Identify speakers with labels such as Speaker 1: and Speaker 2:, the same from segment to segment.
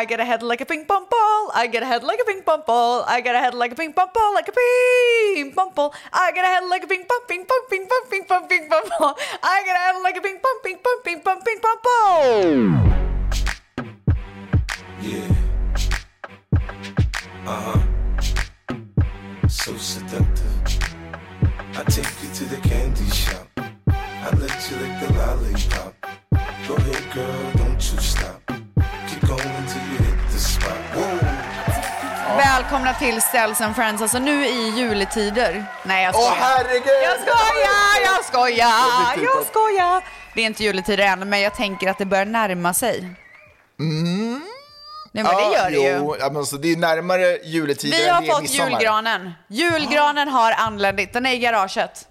Speaker 1: I get a head like a ping pong ball. I get a head like a ping pong ball. I get a head like a ping pong ball, like a ping pong ball. I get a head like a ping pong, ping pong, ping pong, ping pong, ping pong ball. I get a head like a ping pong, ping pong, ping pong, ping pong ball.
Speaker 2: Yeah. Uh huh. So seductive. I take you to the candy shop. I let you lick the lollipop. Go ahead, girl, don't you stop. Keep going till you hit the spot. Whoa.
Speaker 1: Välkomna till Cells and Friends, alltså nu i juletider. Nej jag
Speaker 3: Åh
Speaker 1: skojar.
Speaker 3: herregud!
Speaker 1: jag skojar, jag skojar, jag skojar. Det är inte juletider än, men jag tänker att det börjar närma sig. Nej men det gör det ju.
Speaker 3: Mm. Ah, Jo, ja, men alltså, det är närmare juletider
Speaker 1: Vi
Speaker 3: än
Speaker 1: har
Speaker 3: det är
Speaker 1: fått
Speaker 3: midsommar.
Speaker 1: julgranen. Julgranen har anländit. Den är i garaget.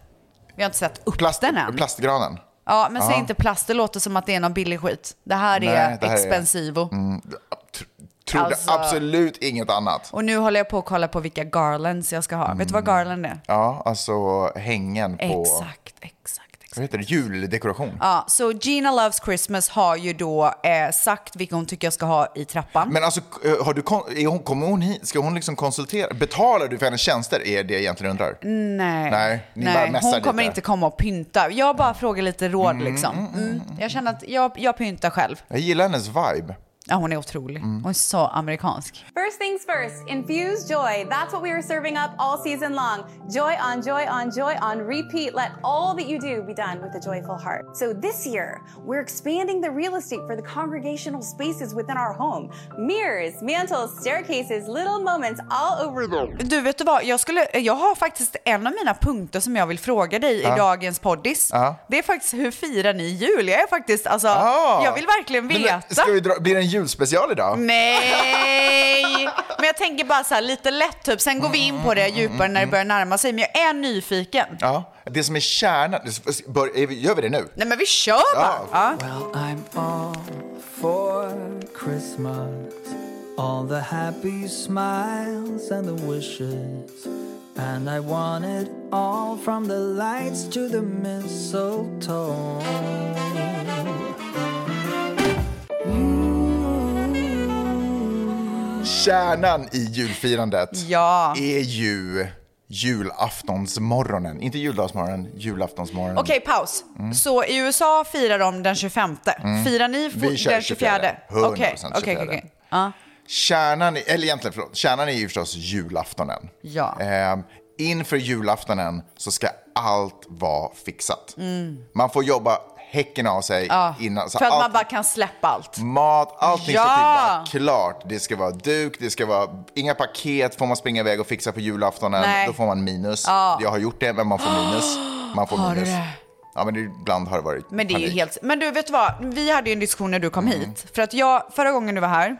Speaker 1: Vi har inte sett upp
Speaker 3: Plast,
Speaker 1: den än.
Speaker 3: plastgranen.
Speaker 1: Ja, men säg inte plast. Det låter som att det är någon billig skit. Det här
Speaker 3: Nej,
Speaker 1: är
Speaker 3: det här är- Mm.
Speaker 1: expensivo.
Speaker 3: Tr- Trodde
Speaker 1: Alltså-
Speaker 3: absolut inget annat.
Speaker 1: Och nu håller jag på att kolla på vilka garlands jag ska ha. Vet du vad garland är?
Speaker 3: Ja, alltså hängen Mm. på...
Speaker 1: Exakt, exakt, exakt.
Speaker 3: Vad heter det? Juldekoration.
Speaker 1: Ja, så Gina Loves Christmas har ju då eh, sagt vilka hon tycker jag ska ha i trappan.
Speaker 3: Men alltså, eh, har du, kon- är hon, kommer hon hit? Ska hon liksom konsultera? Betalar du för hennes tjänster? Är det jag egentligen undrar.
Speaker 1: Mm. Nej,
Speaker 3: Nej, ni bara mässar
Speaker 1: hon kommer
Speaker 3: lite.
Speaker 1: inte komma och pynta. Jag bara frågar lite råd liksom. Mm. Jag känner att jag, jag pyntar själv.
Speaker 3: Jag gillar hennes vibe.
Speaker 1: Ja, hon är otrolig.
Speaker 3: Mm.
Speaker 1: Hon är så amerikansk.
Speaker 4: First things first, infuse joy. That's what we were serving up all season long. Joy on joy on joy on repeat. Let all that you do be done with a joyful heart. So this year, we're expanding the real estate for the congregational spaces within our home. Mirrors, mantles, staircases, little moments all over the
Speaker 1: Du, vet du vad? Jag, skulle, jag har faktiskt en av mina punkter som jag vill fråga dig i dagens poddis. Det är faktiskt hur firar ni jul? Jag är faktiskt, alltså,
Speaker 3: Ah.
Speaker 1: jag vill verkligen
Speaker 3: Men,
Speaker 1: veta. Mm.
Speaker 3: men, Ska vi dra, blir det en julspecial idag?
Speaker 1: Nej! Men jag tänker bara så här lite lätt typ, sen går vi in på
Speaker 3: Mm,
Speaker 1: det djupare när det börjar närma sig. Men jag är nyfiken.
Speaker 3: Ja. Det som är kärnan, bör, är vi- gör vi det nu?
Speaker 1: Nej men vi kör bara!
Speaker 3: Ja.
Speaker 1: Ja.
Speaker 5: Well, I'm all for Christmas. All the happy smiles and the wishes. And I want it all from the lights to the mistletoe.
Speaker 3: Kärnan i julfirandet
Speaker 1: Ja.
Speaker 3: är ju julaftonsmorgonen. Inte juldagsmorgonen, julaftonsmorgonen.
Speaker 1: Okej, paus.
Speaker 3: Mm.
Speaker 1: Så i USA firar de den 25. Firar ni fo-
Speaker 3: Vi kör
Speaker 1: den 24?
Speaker 3: 100%
Speaker 1: Okej, okej,
Speaker 3: 24.
Speaker 1: okej. Ja.
Speaker 3: Kärnan, i- eller egentligen förlåt, kärnan är ju förstås julaftonen.
Speaker 1: Ja.
Speaker 3: Ehm, inför julaftonen så ska allt vara fixat. Man får jobba häcken av sig innan. Så
Speaker 1: Mm. För att man
Speaker 3: allt-
Speaker 1: bara kan släppa allt.
Speaker 3: Mat, allting
Speaker 1: Ja!
Speaker 3: ska typ vara klart. Det ska vara duk, det ska vara inga paket. Får man springa iväg och fixa på julaftonen,
Speaker 1: Nej.
Speaker 3: då får man minus. Jag har gjort det, men man får minus. Man får
Speaker 1: Har du
Speaker 3: minus.
Speaker 1: det?
Speaker 3: Ja, men det- ibland har det varit
Speaker 1: Men det är ju
Speaker 3: panik. Mm.
Speaker 1: helt... Men du, vet du vad? Vi hade ju en diskussion när du kom hit. För att jag, förra gången du var här,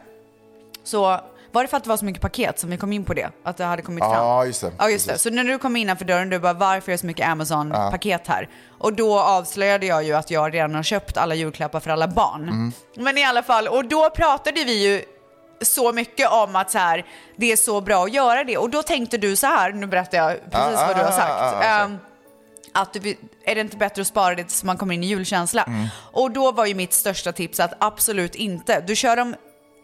Speaker 1: så var det för att det var så mycket paket som vi kom in på det? Att det hade kommit fram?
Speaker 3: Ja, just det.
Speaker 1: Ja, just det.
Speaker 3: Precis.
Speaker 1: Så när du kom innanför dörren, du bara varför är det så mycket Amazon-paket här? Och då avslöjade jag ju att jag redan har köpt alla julklappar för alla barn.
Speaker 3: Mm.
Speaker 1: Men i alla fall, och då pratade vi ju så mycket om att så här, det är så bra att göra det. Och då tänkte du så här, nu berättar jag precis
Speaker 3: Ah,
Speaker 1: vad du har
Speaker 3: ah,
Speaker 1: sagt.
Speaker 3: ah, ah,
Speaker 1: Ehm, att du, är det inte bättre att spara det tills man kommer in i julkänsla?
Speaker 3: Mm.
Speaker 1: Och då var ju mitt största tips att absolut inte. Du kör de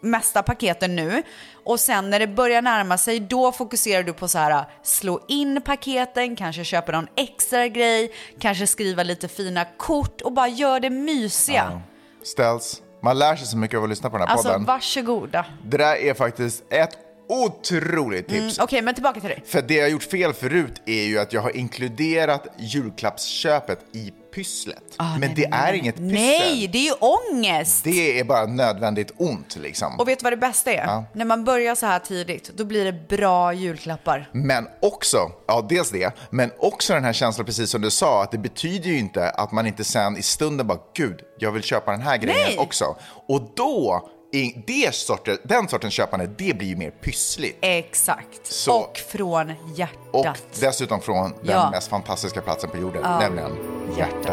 Speaker 1: mesta paketen nu och sen när det börjar närma sig då fokuserar du på så här slå in paketen, kanske köpa någon extra grej, kanske skriva lite fina kort och bara gör det mysiga.
Speaker 3: Ställs. Man lär sig så mycket av att lyssna på den här
Speaker 1: Alltså
Speaker 3: podden.
Speaker 1: varsågoda.
Speaker 3: Det där är faktiskt ett otroligt tips.
Speaker 1: Okej, men tillbaka till dig.
Speaker 3: För det jag har gjort fel förut är ju att jag har inkluderat julklappsköpet i pysslet.
Speaker 1: Ah,
Speaker 3: men det är inget pyssel.
Speaker 1: Nej, det är ju ångest!
Speaker 3: Det är bara nödvändigt ont liksom.
Speaker 1: Och vet du vad det bästa är? När man börjar så här tidigt, då blir det bra julklappar.
Speaker 3: Men också, ja dels det, men också den här känslan precis som du sa, att det betyder ju inte att man inte sen i stunden bara, gud, jag vill köpa den här grejen
Speaker 1: Nej.
Speaker 3: också. Och då, i det sorten, den sortens köpande, det blir ju mer pyssligt.
Speaker 1: Exakt.
Speaker 3: Så.
Speaker 1: Och från hjärtat.
Speaker 3: Och dessutom från den
Speaker 1: Ja.
Speaker 3: mest fantastiska platsen på jorden, nämligen hjärtat.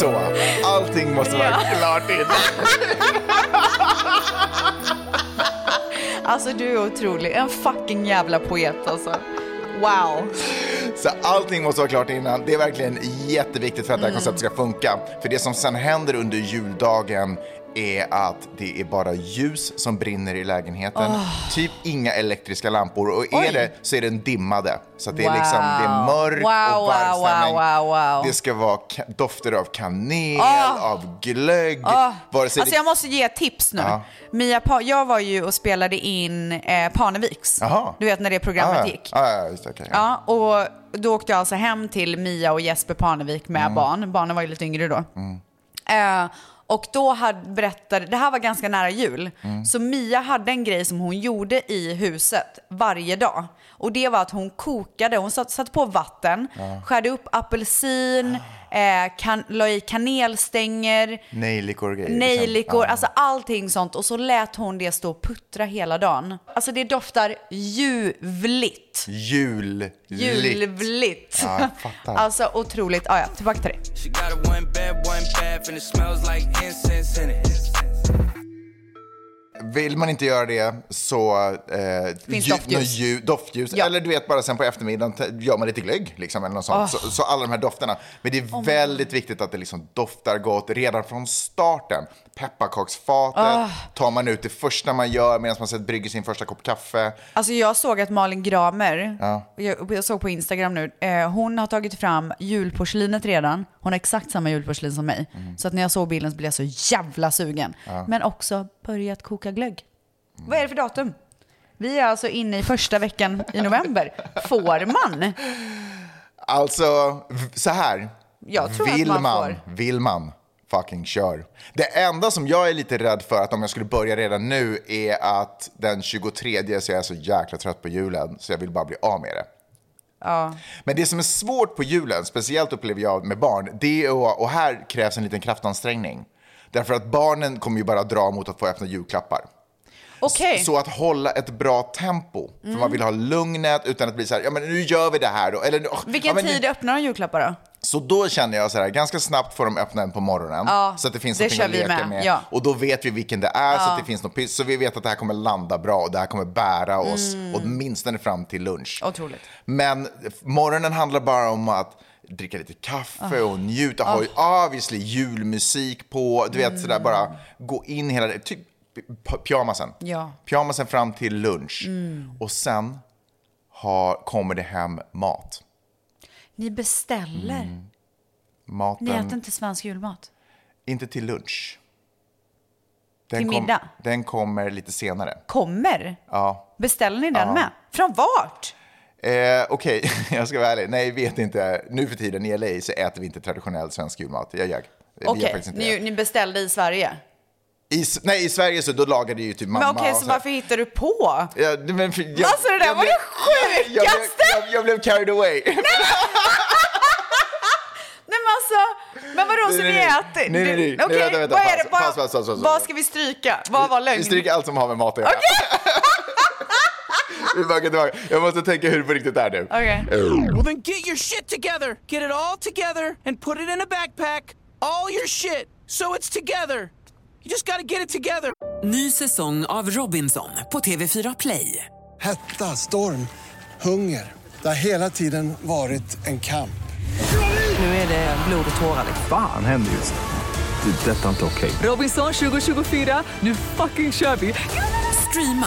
Speaker 3: så. Allting måste vara klart innan.
Speaker 1: Alltså du är otrolig. En fucking jävla poet alltså. Wow.
Speaker 3: Så allting måste vara klart innan. Det är verkligen jätteviktigt för att det här konceptet ska funka. För det som sen händer under juldagen är att det är bara ljus som brinner i lägenheten.
Speaker 1: Ah.
Speaker 3: Typ inga elektriska lampor. Och är det så är den dimmade. Så att det är liksom det är
Speaker 1: Wow.
Speaker 3: mörkt
Speaker 1: Wow,
Speaker 3: och varm
Speaker 1: wow, wow,
Speaker 3: stämning.
Speaker 1: wow, wow. Ah.
Speaker 3: Det ska vara ka- dofter av kanel, av glögg. Vare sig
Speaker 1: Alltså
Speaker 3: det-
Speaker 1: jag måste ge ett tips nu.
Speaker 3: Ja.
Speaker 1: Mia pa- jag var ju och spelade in eh, Parneviks.
Speaker 3: Jaha.
Speaker 1: Du vet när det programmet
Speaker 3: ah,
Speaker 1: gick.
Speaker 3: Ah, ja, just det, okej. ja.
Speaker 1: Ja, och då åkte jag alltså hem till Mia och Jesper Parnevik med barn. Barnen var ju lite yngre då. Eh, och då hade, berättade, det här var ganska nära jul, så Mia hade en grej som hon gjorde i huset varje dag. Och det var att hon kokade, hon satt, satte på vatten, skärde upp apelsin, eh, kan, la i kanelstänger,
Speaker 3: Nejlikor och grejer. liksom.
Speaker 1: nejlikor,
Speaker 3: Ja.
Speaker 1: alltså allting sånt. Och så lät hon det stå och puttra hela dagen. Alltså det doftar ljuvligt.
Speaker 3: Jul.
Speaker 1: Ljuvligt.
Speaker 3: Ja, jag fattar.
Speaker 1: alltså otroligt. Ah, ja, tillbaka till dig.
Speaker 6: She got a one bed, one bath, and it smells like incense in it.
Speaker 3: Vill man inte göra det så... Eh,
Speaker 1: Finns
Speaker 3: lju-
Speaker 1: doftljus.
Speaker 3: nå Ljus, doftljus.
Speaker 1: Ja.
Speaker 3: Eller du vet, bara sen på eftermiddagen t- gör man lite glögg. Liksom, eller något sånt. Så, så alla de här dofterna. Men det är
Speaker 1: Oh
Speaker 3: väldigt viktigt att det liksom doftar gott redan från starten. Pepparkaksfatet tar man ut det första man gör medan man sett brygger sin första kopp kaffe.
Speaker 1: Alltså jag såg att Malin Gramer, jag, jag såg på Instagram nu, eh, hon har tagit fram julporslinet redan. Hon har exakt samma julporslin som mig.
Speaker 3: Mm.
Speaker 1: Så att när jag såg bilden så blev jag så jävla sugen. Men också börjat koka glögg. Vad är det för datum? Vi är alltså inne i första veckan i november. Får man?
Speaker 3: Alltså, v- så här.
Speaker 1: Jag tror att
Speaker 3: vill
Speaker 1: man
Speaker 3: man,
Speaker 1: får.
Speaker 3: vill man, fucking kör. Det enda som jag är lite rädd för, att om jag skulle börja redan nu, är att den 23 så jag är så jäkla trött på julen, så jag vill bara bli av med det. Men det som är svårt på julen, speciellt upplever jag med barn, det är att, och här krävs en liten kraftansträngning. Därför att barnen kommer ju bara dra mot att få öppna julklappar.
Speaker 1: Okej. Mm.
Speaker 3: Så att hålla ett bra tempo. För man vill ha lugnet utan att bli så här, ja men nu gör vi det här då. Eller, "Åh, ja,
Speaker 1: Vilken
Speaker 3: men nu-
Speaker 1: tid öppnar de julklappar då?
Speaker 3: så då känner jag så här, ganska snabbt får de öppna en på morgonen. så att det finns
Speaker 1: det
Speaker 3: någonting
Speaker 1: kör
Speaker 3: att
Speaker 1: vi
Speaker 3: leka med.
Speaker 1: med, ja.
Speaker 3: Och då vet vi vilken det är, så att det finns något pyss. Så vi vet att det här kommer landa bra och det här kommer bära oss
Speaker 1: Mm.
Speaker 3: åtminstone fram till lunch.
Speaker 1: Otroligt.
Speaker 3: Men morgonen handlar bara om att dricka lite kaffe
Speaker 1: Ah.
Speaker 3: och njuta. Har ju obviously julmusik på. Du vet sådär bara gå in hela det. Typ p- pyjamasen.
Speaker 1: Mm. Ja. Mm.
Speaker 3: Pyjamasen fram till lunch. Och sen har, kommer det hem mat.
Speaker 1: Ni beställer.
Speaker 3: Mm, Maten.
Speaker 1: Ni äter inte svensk julmat.
Speaker 3: Inte till lunch. Den
Speaker 1: Till
Speaker 3: kom-
Speaker 1: middag?
Speaker 3: Den kommer lite senare.
Speaker 1: Kommer?
Speaker 3: Ja.
Speaker 1: Beställer ni den med? Från vart?
Speaker 3: Eh, Okej, jag ska vara ärlig. Nej, vet inte. Nu för tiden i LA så äter vi inte traditionell svensk julmat. Jag ljög. Vi gör
Speaker 1: Okej,
Speaker 3: faktiskt inte
Speaker 1: ni,
Speaker 3: det.
Speaker 1: ni beställde i Sverige.
Speaker 3: I, s- nej, i Sverige så då lagade ju typ mamma.
Speaker 1: Men okej,
Speaker 3: och
Speaker 1: så
Speaker 3: här.
Speaker 1: varför hittar du på?
Speaker 3: Ja, nej, men för, jag,
Speaker 1: Alltså, det där
Speaker 3: jag
Speaker 1: var
Speaker 3: blev-
Speaker 1: det sjukaste!
Speaker 3: Jag, blev- jag, jag blev carried away.
Speaker 1: Nej men alltså, men vadå så
Speaker 3: Nej, nej,
Speaker 1: vi
Speaker 3: nej.
Speaker 1: äter?
Speaker 3: Nej, nej, nej.
Speaker 1: Okej,
Speaker 3: Nej, vänta, vänta,
Speaker 1: vad är det?
Speaker 3: paus,
Speaker 1: Vad-
Speaker 3: paus, paus, paus, paus.
Speaker 1: Vad ska vi stryka? Vad var lögn?
Speaker 3: Vi stryker allt som har med mat att göra. Vi backar tillbaka. Jag måste tänka hur det på riktigt är nu.
Speaker 1: Okej.
Speaker 6: Well, then get your shit together. Get it all together and put it in a backpack. All your shit. So it's together. You just gotta get it together.
Speaker 7: Ny säsong av Robinson på TV4 Play.
Speaker 8: Hetta, storm, hunger. Det har hela tiden varit en kamp.
Speaker 7: Nu är det blod och tårar.
Speaker 9: Fan händer just det. Det är detta inte okej.
Speaker 7: Robinson 2024, nu fucking kör vi! Streama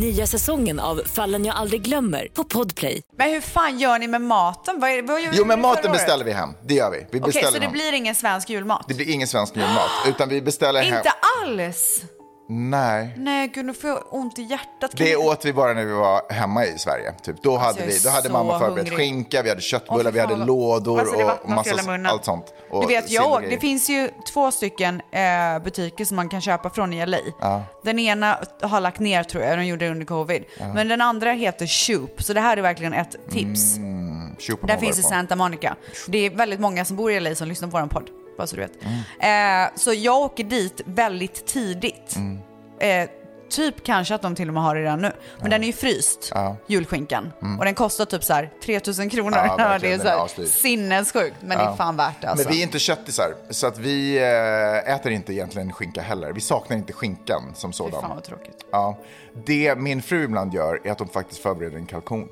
Speaker 10: Nya säsongen av Fallen jag aldrig glömmer på Podplay.
Speaker 1: Men hur fan gör ni med maten? Vad är, vad gör
Speaker 3: Jo, men maten
Speaker 1: vi.
Speaker 3: beställer vi hem. Det gör vi. Vi
Speaker 1: Okej,
Speaker 3: beställer
Speaker 1: så det
Speaker 3: hem.
Speaker 1: blir ingen svensk julmat?
Speaker 3: Det blir ingen svensk julmat, utan vi beställer hem.
Speaker 1: Inte alls!
Speaker 3: Nej.
Speaker 1: Nej, gud nu får jag ont i hjärtat. Kan
Speaker 3: Det
Speaker 1: jag-
Speaker 3: åt vi bara när vi var hemma i Sverige. Typ. Då hade,
Speaker 1: Alltså, jag är
Speaker 3: vi, då hade
Speaker 1: så
Speaker 3: mamma förberett
Speaker 1: hungrig.
Speaker 3: skinka, vi hade
Speaker 1: Åh,
Speaker 3: köttbullar,
Speaker 1: fy
Speaker 3: vi hade
Speaker 1: fan, vad-
Speaker 3: lådor
Speaker 1: Alltså, det
Speaker 3: och
Speaker 1: vattnas hela
Speaker 3: massa,
Speaker 1: munnen.
Speaker 3: allt sånt. Och
Speaker 1: Du vet, jag, åt-
Speaker 3: sillgrejer.
Speaker 1: det finns ju två stycken eh, butiker som man kan köpa från E i LA.
Speaker 3: Ja.
Speaker 1: Den ena har lagt ner tror jag, de gjorde det under covid.
Speaker 3: Ja.
Speaker 1: Men den andra heter Shoop, så det här är verkligen ett tips.
Speaker 3: Mm, tjopa
Speaker 1: Där
Speaker 3: mamma
Speaker 1: finns i
Speaker 3: därifrån.
Speaker 1: Santa Monica. Det är väldigt många som bor i LA som lyssnar på vår podd, bara så du vet.
Speaker 3: Mm.
Speaker 1: Eh, så jag åker dit väldigt tidigt.
Speaker 3: Mm.
Speaker 1: Eh, typ kanske att de till och med har det redan nu. Men den är ju fryst,
Speaker 3: Ja.
Speaker 1: julskinkan.
Speaker 3: Mm.
Speaker 1: Och den kostar typ så här 3000 kronor.
Speaker 3: Ja, verkligen,
Speaker 1: det är
Speaker 3: den
Speaker 1: så
Speaker 3: är
Speaker 1: här
Speaker 3: asdyr.
Speaker 1: sinnessjukt, men det
Speaker 3: Ja.
Speaker 1: är fan värt det alltså.
Speaker 3: Men vi är inte köttisar, så att vi eh, äter inte egentligen skinka heller. Vi saknar inte skinkan som sådan.
Speaker 1: fan vad tråkigt.
Speaker 3: Ja. Det min fru ibland gör är att hon faktiskt förbereder en kalkon.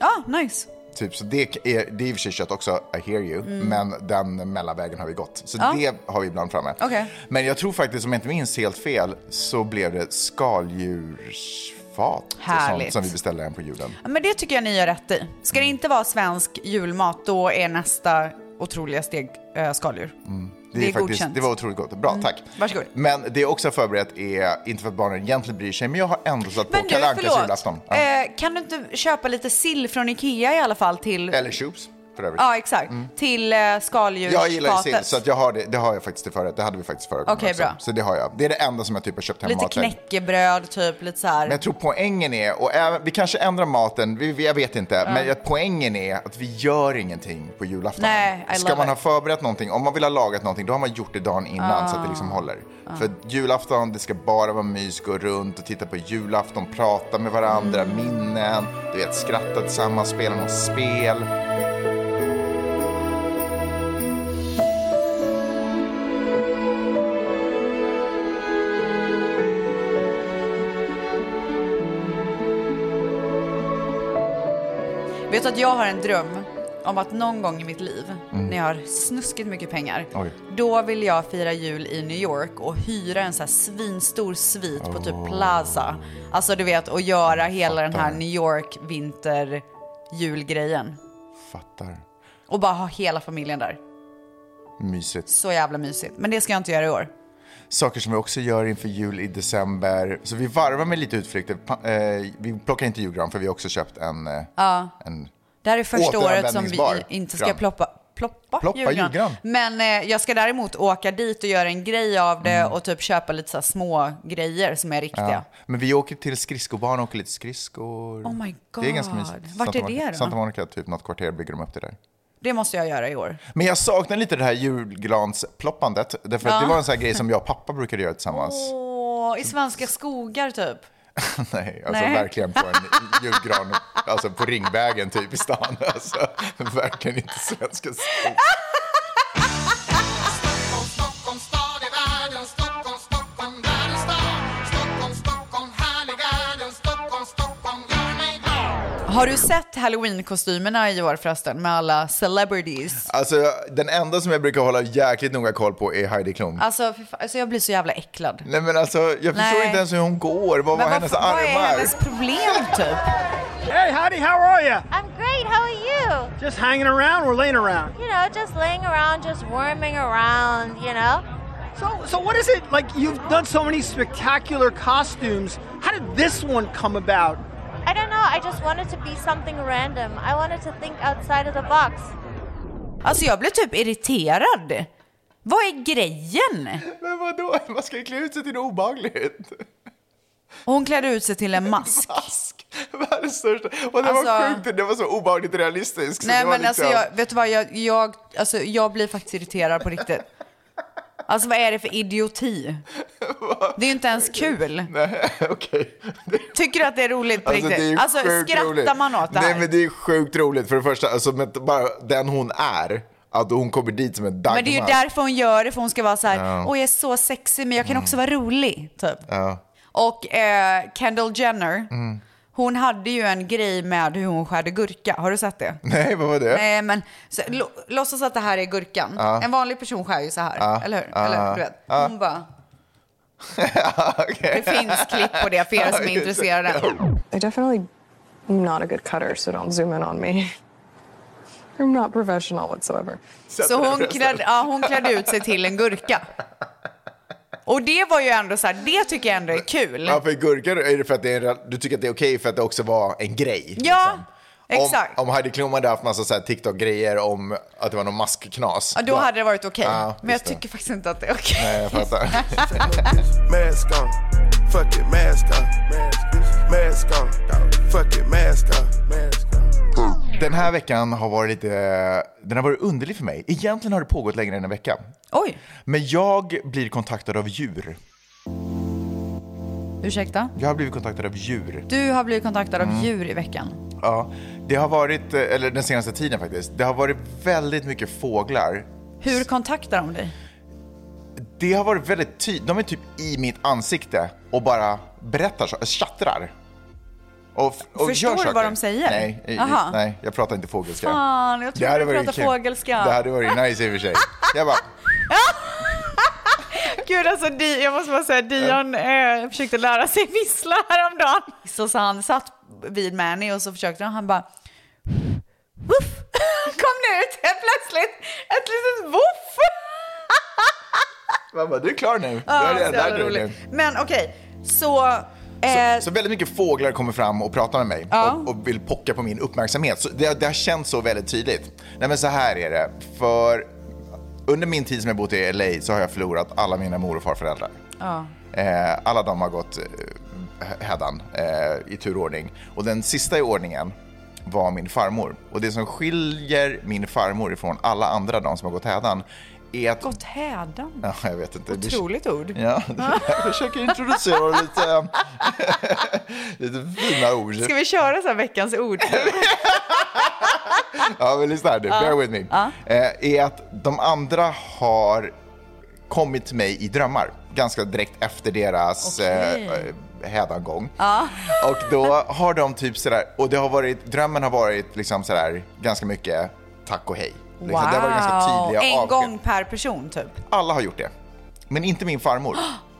Speaker 1: Ah, nice.
Speaker 3: Typ, så det är, det är i och för sig kött också, I hear you,
Speaker 1: Mm.
Speaker 3: men den mellanvägen har vi gått. Så
Speaker 1: Ja.
Speaker 3: det har vi ibland framme.
Speaker 1: Okej.
Speaker 3: Men jag tror faktiskt, om jag inte minns helt fel, så blev det skaldjursfat och
Speaker 1: Härligt.
Speaker 3: sånt som vi beställde hem på julen.
Speaker 1: Ja, Men det tycker jag ni gör rätt i. Ska det
Speaker 3: Mm.
Speaker 1: inte vara svensk julmat, då är nästa otroliga steg äh, skaldjur.
Speaker 3: Mm.
Speaker 1: Det är
Speaker 3: faktiskt,
Speaker 1: godkänt. Mm.
Speaker 3: Det var otroligt gott. Bra, tack.
Speaker 1: Varsågod.
Speaker 3: Men det jag också har förberett är, inte för att barnen egentligen bryr sig, men jag har ändå satt på
Speaker 1: Men du,
Speaker 3: Kalle Ankas
Speaker 1: förlåt.
Speaker 3: julafton. Ja.
Speaker 1: Eh, kan du inte köpa lite sill från Ikea i alla fall till...
Speaker 3: Eller Shoops, för övrigt.
Speaker 1: Ja, exakt.
Speaker 3: Mm.
Speaker 1: Till eh, skaldjursfatet.
Speaker 3: Jag gillar ju sill, så att jag har det, det har jag faktiskt till förrätt. Det hade vi faktiskt förra gången
Speaker 1: Okej,
Speaker 3: också.
Speaker 1: bra.
Speaker 3: Så det har jag. Det är det enda som jag typ har köpt hem
Speaker 1: Lite
Speaker 3: matväg.
Speaker 1: knäckebröd, typ lite så här.
Speaker 3: Men jag tror poängen är, och även, vi kanske ändrar maten, vi, vi- jag vet inte,
Speaker 1: Ja.
Speaker 3: men att poängen är att vi gör ingenting på julafton.
Speaker 1: Nej, I
Speaker 3: Ska
Speaker 1: love
Speaker 3: man
Speaker 1: it.
Speaker 3: ha förberett någonting, om man vill ha lagat någonting, då har man gjort det dagen innan så att det liksom
Speaker 1: Ah.
Speaker 3: håller.
Speaker 1: Ah.
Speaker 3: För julafton, det ska bara vara mys, gå runt och titta på julafton, prata med varandra,
Speaker 1: Mm.
Speaker 3: minnen, du vet skratta tillsammans, spela något spel.
Speaker 1: Vet du att jag har en dröm om att någon gång i mitt liv,
Speaker 3: Mm.
Speaker 1: när jag har snuskigt mycket pengar,
Speaker 3: Oj.
Speaker 1: då vill jag fira jul i New York och hyra en så här svinstor svit på typ Plaza. Alltså du vet, och göra hela den här
Speaker 3: fattar.
Speaker 1: New York vinter julgrejen.
Speaker 3: Fattar.
Speaker 1: Och bara ha hela familjen där.
Speaker 3: Mysigt.
Speaker 1: Så jävla mysigt. Men det ska jag inte göra i år.
Speaker 3: Saker som vi också gör inför jul i december. Så vi varvar med lite utflykter. Pa- eh, vi plockar inte julgran för vi har också köpt en, eh,
Speaker 1: Ja.
Speaker 3: en
Speaker 1: Det här är första året som vi
Speaker 3: Återanvändningsbar
Speaker 1: inte ska
Speaker 3: gran.
Speaker 1: ploppa, ploppa,
Speaker 3: Ploppa julgran.
Speaker 1: Men eh, jag ska däremot åka dit och göra en grej av det och typ köpa lite så här små grejer som är riktiga.
Speaker 3: Mm. Ja. Men vi åker till skridskobanan och åker lite skridskor.
Speaker 1: Oh my
Speaker 3: Det är ganska
Speaker 1: God.
Speaker 3: mysigt.
Speaker 1: Vart
Speaker 3: Santa
Speaker 1: är det
Speaker 3: Monica-
Speaker 1: då?
Speaker 3: Santa Monica, typ något kvarter bygger de upp det där.
Speaker 1: Det måste jag göra i år.
Speaker 3: Men jag saknar lite det här julgransploppandet. Därför att
Speaker 1: Ja.
Speaker 3: det var en sån här grej som jag och pappa brukade göra tillsammans.
Speaker 1: Åh, i svenska skogar typ.
Speaker 3: Nej, alltså
Speaker 1: Nej.
Speaker 3: verkligen på en julgran, alltså på Ringvägen typ i stan. Alltså, verkligen inte svenska skor.
Speaker 1: Har du sett halloween-kostymerna i år förresten med alla celebrities?
Speaker 3: Alltså den enda som jag brukar hålla jäkligt noga koll på är Heidi Klum.
Speaker 1: Alltså, fy fan, alltså jag blir så jävla äcklad.
Speaker 3: Nej men alltså jag förstår
Speaker 1: Nej.
Speaker 3: inte ens hur hon går, vad var
Speaker 1: Men
Speaker 3: hennes
Speaker 1: vad, vad är
Speaker 3: armar?
Speaker 1: hennes problem typ?
Speaker 11: Hey, Heidi, how are you?
Speaker 12: I'm great. How are you?
Speaker 11: Just hanging around or laying around?
Speaker 12: You know, just laying around, just worming around, you know?
Speaker 11: So, so what is it like? You've done so many spectacular costumes. How did this one come about?
Speaker 12: I don't know. I just wanted to be something random. I wanted to think outside of the box.
Speaker 1: Alltså jag blev typ irriterad. Vad är grejen?
Speaker 3: Men vadå, man ska ju klä ut sig till något obehagligt.
Speaker 1: Och hon klädde ut sig till en mask.
Speaker 3: Mask! Världens största. Och det var
Speaker 1: Alltså-
Speaker 3: sjukt, det var så obehagligt realistiskt. så
Speaker 1: Nej
Speaker 3: det var
Speaker 1: men alltså
Speaker 3: liksom-
Speaker 1: jag, vet du vad, jag, jag, alltså, jag blir faktiskt irriterad på riktigt. Alltså vad är det för idioti? Det är ju inte ens kul.
Speaker 3: Nej, okej.
Speaker 1: Tycker du att det är roligt på
Speaker 3: Alltså, det är
Speaker 1: riktigt? Alltså
Speaker 3: sjukt
Speaker 1: skrattar
Speaker 3: roligt.
Speaker 1: man åt det här?
Speaker 3: Nej men det är sjukt roligt, för det första, alltså, men bara den hon är, att hon kommer dit som en Dagmar.
Speaker 1: Men det är ju därför hon gör det, för hon ska vara så här,
Speaker 3: Ja.
Speaker 1: åh jag är så sexig men jag kan också vara rolig. Typ.
Speaker 3: Ja.
Speaker 1: Och eh, Kendall Jenner,
Speaker 3: Mm.
Speaker 1: hon hade ju en grej med hur hon skärde gurka. Har du sett det?
Speaker 3: Nej, vad var det?
Speaker 1: Nej, men så, lo, låtsas att det här är gurkan.
Speaker 3: Ja.
Speaker 1: En vanlig person skär ju så här,
Speaker 3: Ja.
Speaker 1: eller hur?
Speaker 3: Ja.
Speaker 1: Eller, du vet.
Speaker 3: Ja.
Speaker 1: Hon bara... Det finns klipp på det för er som är intresserade.
Speaker 13: I definitely am not a good cutter, so don't zoom in on me. I'm not professional whatsoever.
Speaker 1: Så hon klädde, ja, hon klädde ut sig till en gurka. Och det var ju ändå så här, det tycker jag ändå är kul.
Speaker 3: Ja, för gurkor är det för att det är, en- du tycker att det är okej för att det också var en grej.
Speaker 1: Ja, exakt.
Speaker 3: liksom. Om, om Heidi Klum hade haft massa så här TikTok-grejer om att det var någon maskknas.
Speaker 1: Ja, då hade det varit okej.
Speaker 3: Ja,
Speaker 1: Men jag
Speaker 3: just det.
Speaker 1: tycker faktiskt inte att det är okej.
Speaker 3: Nej, jag fattar.
Speaker 14: Mask on. Fuck it, mask on. Mask on. Fuck it, mask on.
Speaker 3: Den här veckan har varit lite, den har varit underlig för mig. Egentligen har det pågått längre än en vecka.
Speaker 1: Oj.
Speaker 3: Men jag blir kontaktad av djur.
Speaker 1: Ursäkta?
Speaker 3: Jag har blivit kontaktad av djur.
Speaker 1: Du har blivit kontaktad av
Speaker 3: Mm.
Speaker 1: djur i veckan.
Speaker 3: Ja, det har varit, eller den senaste tiden faktiskt, det har varit väldigt mycket fåglar.
Speaker 1: Hur kontaktar de dig?
Speaker 3: Det har varit väldigt tydligt, de är typ i mitt ansikte och bara berättar, så- tjattrar. Och, f- och
Speaker 1: Förstår
Speaker 3: gör
Speaker 1: du
Speaker 3: saker.
Speaker 1: vad de säger?
Speaker 3: Nej, i- i-
Speaker 1: Aha.
Speaker 3: nej, jag pratar inte fågelska.
Speaker 1: Fan, jag trodde
Speaker 3: Det hade
Speaker 1: du
Speaker 3: varit
Speaker 1: pratade
Speaker 3: kul.
Speaker 1: fågelska.
Speaker 3: Det hade varit nice i och för sig. Jag bara,
Speaker 1: Gud alltså, Di, jag måste bara säga, Dion eh, försökte lära sig vissla häromdagen. Så, så han satt vid Manny och så försökte han, han bara Woof! Kom nu ut helt plötsligt, ett litet woof!
Speaker 3: man bara, du är klar nu.
Speaker 1: Ja,
Speaker 3: Du har redan
Speaker 1: så jävla
Speaker 3: lärt dig
Speaker 1: roligt.
Speaker 3: nu.
Speaker 1: Men okej, så... Eh,
Speaker 3: Så väldigt mycket fåglar kommer fram och pratar med mig
Speaker 1: Ja.
Speaker 3: och, och vill pocka på min uppmärksamhet. Så det, det har känts så väldigt tydligt. Nej men så här är det, för under min tid som jag bott i LA så har jag förlorat alla mina mor och farföräldrar.
Speaker 1: ja.
Speaker 3: Eh, alla de har gått eh, hädan eh, i turordning. Och den sista i ordningen var min farmor. Och det som skiljer min farmor ifrån alla andra de som har gått hädan är att...
Speaker 1: Gått hädan?
Speaker 3: Ja, jag vet inte.
Speaker 1: Otroligt ord.
Speaker 3: Ja, jag försöker introducera lite, lite fina ord.
Speaker 1: Ska vi köra så här veckans ord?
Speaker 3: Ja, men lyssna här nu.
Speaker 1: Ja.
Speaker 3: Bear with me.
Speaker 1: Ja.
Speaker 3: Eh, är att de andra har kommit till mig i drömmar ganska direkt efter deras
Speaker 1: Okej.
Speaker 3: eh, eh, hädangång.
Speaker 1: ja.
Speaker 3: Och då har de typ sådär, och det har varit, drömmen har varit liksom sådär ganska mycket tack och hej. Liksom, Det har varit ganska
Speaker 1: Wow.
Speaker 3: tydliga
Speaker 1: En
Speaker 3: avsked.
Speaker 1: gång per person typ.
Speaker 3: Alla har gjort det. Men inte min farmor.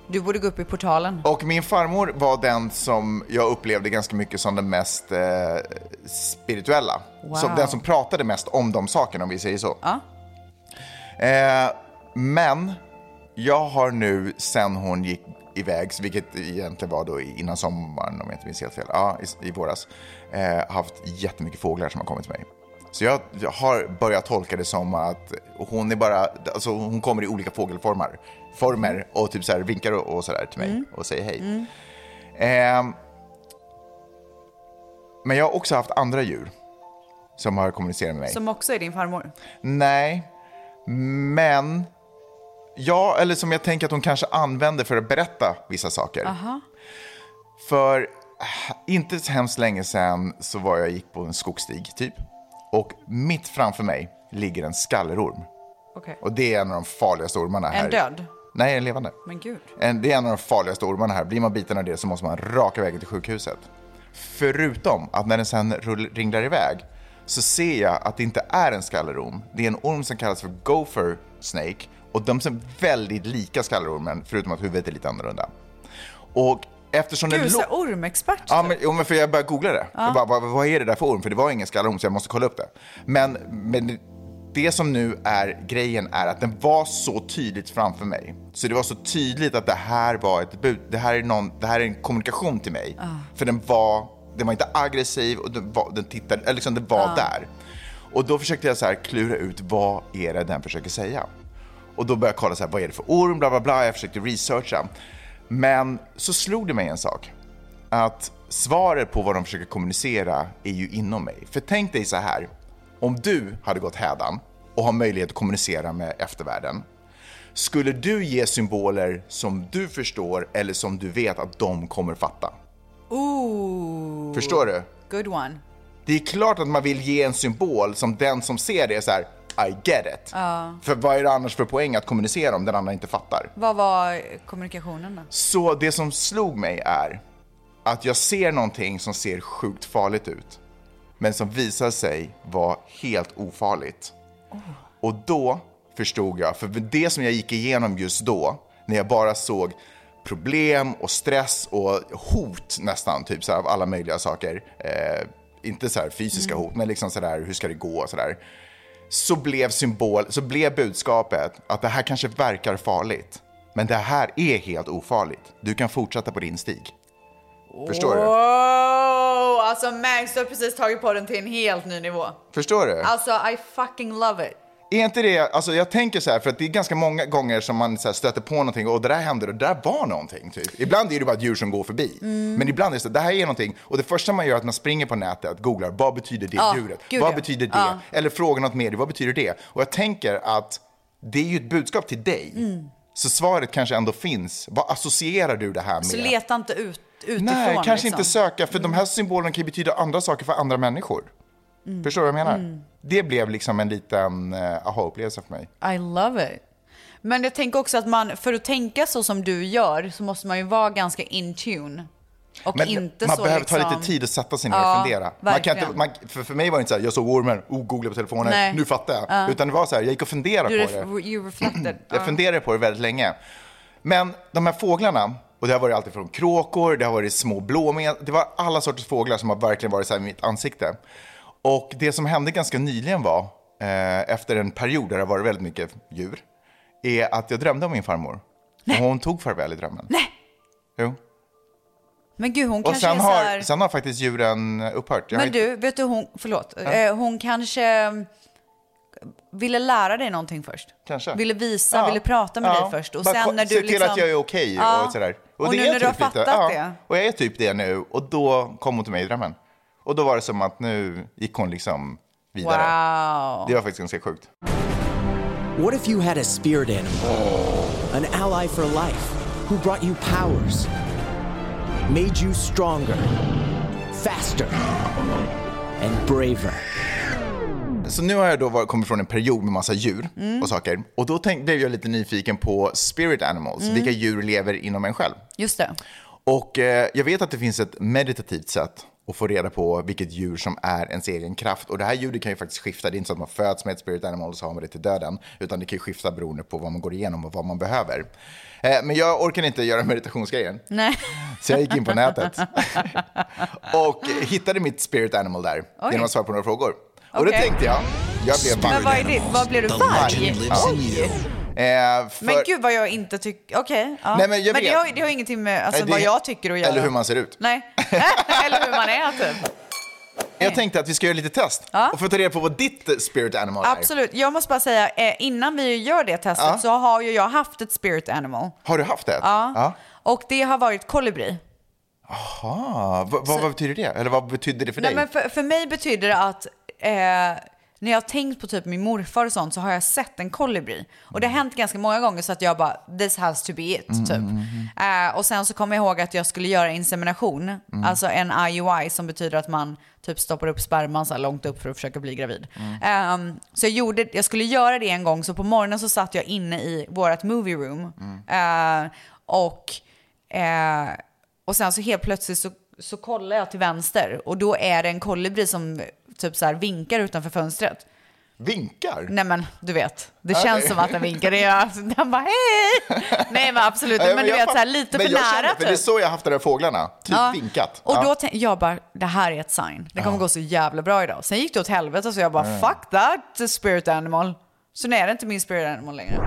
Speaker 1: Du borde gå upp i portalen.
Speaker 3: Och min farmor var den som jag upplevde ganska mycket som den mest eh, spirituella.
Speaker 1: Wow.
Speaker 3: Som den som pratade mest om de sakerna om vi säger så. Eh, men jag har nu sen hon gick iväg, vilket egentligen var då innan sommaren om jag inte minns helt fel, ja, i, i våras, eh, haft jättemycket fåglar som har kommit till mig. Så jag jag har börjat tolka det som att hon är bara, alltså hon kommer i olika fågelformer former och typ så här vinkar och, och så där till mig
Speaker 1: Mm.
Speaker 3: och säger hej.
Speaker 1: Mm.
Speaker 3: Ehm, men jag har också haft andra djur som har kommunicerat med mig.
Speaker 1: Som också är din farmor.
Speaker 3: Nej, men... Ja, eller som jag tänker att hon kanske använder för att berätta vissa saker.
Speaker 1: Aha.
Speaker 3: För h- inte så hemskt länge sedan så var jag gick på en skogsstig typ. Och mitt framför mig ligger en skallerorm.
Speaker 1: Okej.
Speaker 3: Och det är en av de farligaste ormarna här.
Speaker 1: En död?
Speaker 3: Nej, en levande.
Speaker 1: Men gud.
Speaker 3: En, det är en av de farligaste ormarna här. Blir man biten av det så måste man raka vägen till sjukhuset. Förutom att när den sen rull, ringlar iväg så ser jag att det inte är en skallerorm. Det är en orm som kallas för gopher snake och de ser väldigt lika skallerormen förutom att huvudet är lite annorlunda. Och eftersom
Speaker 1: Du är
Speaker 3: den
Speaker 1: så
Speaker 3: lå-
Speaker 1: här ormexpert.
Speaker 3: Ja, men, jo, men för jag började googla det.
Speaker 1: Ja.
Speaker 3: Jag bara, vad, vad är det där för orm? För det var ingen skallerorm så jag måste kolla upp det. Men, men det som nu är grejen är att den var så tydligt framför mig. Så det var så tydligt att det här var ett bud. Det här är, någon, det här är en kommunikation till mig.
Speaker 2: Ah.
Speaker 3: För den var, den var inte aggressiv och den, var, den tittade, eller liksom den var
Speaker 2: Ah.
Speaker 3: där. Och då försökte jag så här klura ut vad är det den försöker säga. Och då började jag kolla så här, vad är det för orm, bla bla bla. Jag försökte researcha. Men så slog det mig en sak. Att svaret på vad de försöker kommunicera är ju inom mig. För tänk dig så här, om du hade gått hädan och har möjlighet att kommunicera med eftervärlden. Skulle du ge symboler som du förstår eller som du vet att de kommer fatta?
Speaker 1: Ooh.
Speaker 3: Förstår du?
Speaker 1: Good one.
Speaker 3: Det är klart att man vill ge en symbol som den som ser det är så här, I get it.
Speaker 1: Ja.
Speaker 3: För vad är det annars för poäng att kommunicera om den andra inte fattar?
Speaker 1: Vad var kommunikationen då?
Speaker 3: Så det som slog mig är att jag ser någonting som ser sjukt farligt ut, men som visar sig vara helt ofarligt. Och då förstod jag, för det som jag gick igenom just då, när jag bara såg problem och stress och hot nästan, typ så här, av alla möjliga saker. Eh, inte så här fysiska hot, men liksom så där, hur ska det gå och så där. Så blev symbol, så blev budskapet att det här kanske verkar farligt, Men det här är helt ofarligt. Du kan fortsätta på din stig. Förstår du?
Speaker 1: Wow! Alltså Max, du har precis tagit på den till en helt ny nivå.
Speaker 3: Förstår du?
Speaker 1: Alltså I fucking love it.
Speaker 3: Är inte det, alltså jag tänker så här, för att det är ganska många gånger som man så här stöter på någonting och det där händer och det där var någonting. Typ. Ibland är det bara ett djur som går förbi.
Speaker 1: Mm.
Speaker 3: Men ibland är det så, det här är någonting. Och det första man gör är att man springer på nätet, googlar, vad betyder det
Speaker 1: Ja,
Speaker 3: djuret?
Speaker 1: gud
Speaker 3: vad
Speaker 1: ja.
Speaker 3: betyder det?
Speaker 1: Ja.
Speaker 3: Eller frågar något mer, vad betyder det? Och jag tänker att det är ju ett budskap till dig.
Speaker 1: Mm.
Speaker 3: Så svaret kanske ändå finns. Vad associerar du det här med?
Speaker 1: Så leta inte ut, utifrån
Speaker 3: Nej, kanske
Speaker 1: liksom.
Speaker 3: inte söka, för de här symbolerna kan ju betyda andra saker för andra människor.
Speaker 1: Mm.
Speaker 3: Förstår du vad jag menar?
Speaker 1: Mm.
Speaker 3: Det blev liksom en liten eh, aha-upplevelse för mig.
Speaker 1: I love it. Men jag tänker också att man, för att tänka så som du gör så måste man ju vara ganska in tune. Och
Speaker 3: Men
Speaker 1: inte
Speaker 3: man
Speaker 1: så
Speaker 3: behöver
Speaker 1: liksom...
Speaker 3: ta lite tid att sätta sig ner
Speaker 1: Ja,
Speaker 3: och fundera. Man kan
Speaker 1: verkligen.
Speaker 3: inte, man, för, för mig var det inte så här, jag såg ormen, oh, googlade på telefonen,
Speaker 1: Nej.
Speaker 3: nu fattar jag.
Speaker 1: Ja.
Speaker 3: Utan det var så här, jag gick och funderade
Speaker 1: You,
Speaker 3: på
Speaker 1: ref-
Speaker 3: det.
Speaker 1: you reflected.
Speaker 3: Jag
Speaker 1: Ja.
Speaker 3: funderade på det väldigt länge. Men de här fåglarna, och det har varit allt från kråkor, det har varit små blåmed, det var alla sorters fåglar som har verkligen varit så här i mitt ansikte. Och det som hände ganska nyligen var, eh, efter en period där det har varit väldigt mycket djur, är att jag drömde om min farmor. Och hon tog farväl i drömmen.
Speaker 1: Nej!
Speaker 3: Jo.
Speaker 1: Men gud, hon
Speaker 3: Och
Speaker 1: kanske
Speaker 3: sen
Speaker 1: är så
Speaker 3: har,
Speaker 1: här...
Speaker 3: sen har faktiskt djuren upphört. Jag
Speaker 1: Men
Speaker 3: har inte-
Speaker 1: du, vet du hon, förlåt,
Speaker 3: Ja.
Speaker 1: eh, hon kanske eh, ville lära dig någonting först.
Speaker 3: Kanske.
Speaker 1: Ville visa,
Speaker 3: Ja.
Speaker 1: ville prata med
Speaker 3: Ja.
Speaker 1: dig först. Och
Speaker 3: Bara ko-
Speaker 1: sen när du
Speaker 3: se till
Speaker 1: liksom...
Speaker 3: att jag är okej
Speaker 1: Ja.
Speaker 3: och sådär.
Speaker 1: Och
Speaker 3: det
Speaker 1: nu
Speaker 3: är jag
Speaker 1: när du har
Speaker 3: lite.
Speaker 1: fattat
Speaker 3: Ja.
Speaker 1: det.
Speaker 3: Och jag är typ det nu. Och då kom hon till mig i drömmen. Och då var det som att nu gick hon liksom vidare.
Speaker 1: Wow.
Speaker 3: Det var faktiskt ganska sjukt.
Speaker 15: What if you had a spirit animal?
Speaker 11: Oh.
Speaker 15: An ally for life who brought you powers, made you stronger, faster, and braver.
Speaker 3: Så nu har jag då var- kommit från en period med massa djur
Speaker 1: Mm.
Speaker 3: och saker. Och då tänk, blev jag lite nyfiken på spirit animals,
Speaker 1: Mm.
Speaker 3: vilka djur lever inom en själv.
Speaker 1: Just det.
Speaker 3: Och eh, jag vet att det finns ett meditativt sätt att få reda på vilket djur som är ens egen kraft. Och det här djuret kan ju faktiskt skifta. Det är inte så att man föds med ett spirit animal och så har man det till döden. Utan det kan ju skifta beroende på vad man går igenom och vad man behöver. Eh, men jag orkar inte göra meditationsgrejen.
Speaker 1: Nej.
Speaker 3: Så jag gick in på nätet och hittade mitt spirit animal där
Speaker 1: Oj.
Speaker 3: genom att svara på några frågor. Och då
Speaker 1: Okej.
Speaker 3: tänkte jag, jag blev
Speaker 1: Men
Speaker 3: varg.
Speaker 1: vad är det? Vad blev du, The varg? legend lives in
Speaker 3: Ja.
Speaker 1: you.
Speaker 3: Eh, för,
Speaker 1: Men gud vad jag inte tycker... Okej. ja.
Speaker 3: Nej, men jag
Speaker 1: det,
Speaker 3: vet.
Speaker 1: har, det har ingenting med alltså,
Speaker 3: Nej, det-
Speaker 1: vad jag tycker att göra.
Speaker 3: Eller hur man ser ut.
Speaker 1: Nej. eller hur man är typ.
Speaker 3: Jag tänkte att vi ska göra lite test och få ta reda på vad ditt spirit animal är.
Speaker 1: Absolut. Jag måste bara säga, eh, innan vi gör det testet
Speaker 3: Ja.
Speaker 1: så har ju jag haft ett spirit animal.
Speaker 3: Har du haft det?
Speaker 1: Ja. Och det har varit kolibri.
Speaker 3: Aha. Va, va, Ah, vad betyder det? Eller vad betyder det för
Speaker 1: Nej,
Speaker 3: dig?
Speaker 1: men för, för mig betyder det att eh, när jag har tänkt på typ min morfar och sånt så har jag sett en kolibri. Och det har hänt ganska många gånger så att jag bara, this has to be it,
Speaker 16: Mm,
Speaker 1: typ.
Speaker 16: mm, mm,
Speaker 1: Eh, och sen så kom jag ihåg att jag skulle göra insemination,
Speaker 16: Mm.
Speaker 1: alltså en IUI som betyder att man typ stoppar upp sperman så här långt upp för att försöka bli gravid.
Speaker 16: Mm.
Speaker 1: Ehm, så jag, gjorde, jag skulle göra det en gång, så på morgonen så satt jag inne i vårt movie room.
Speaker 16: Mm.
Speaker 1: Eh, och, eh, och sen så helt plötsligt så, så kollar jag till vänster och då är det en kolibri som typ så här vinkar utanför fönstret.
Speaker 3: Vinkar?
Speaker 1: Nej men du vet, det
Speaker 3: Okej.
Speaker 1: känns som att den vinkar. Det är, alltså, den bara hej! Nej men absolut, men, du
Speaker 3: jag
Speaker 1: vet så här
Speaker 3: fatt-
Speaker 1: lite
Speaker 3: men
Speaker 1: för
Speaker 3: jag
Speaker 1: nära typ.
Speaker 3: känner, för Det är så jag har haft de där fåglarna. Typ
Speaker 1: Ja.
Speaker 3: vinkat.
Speaker 1: Och
Speaker 3: Ja.
Speaker 1: då tänkte jag bara, det här är ett sign. Det kommer
Speaker 3: Ja.
Speaker 1: gå så jävla bra idag. Sen gick det åt helvete så jag bara,
Speaker 17: Mm.
Speaker 1: fuck that spirit animal. Så nu är det inte min spirit animal längre.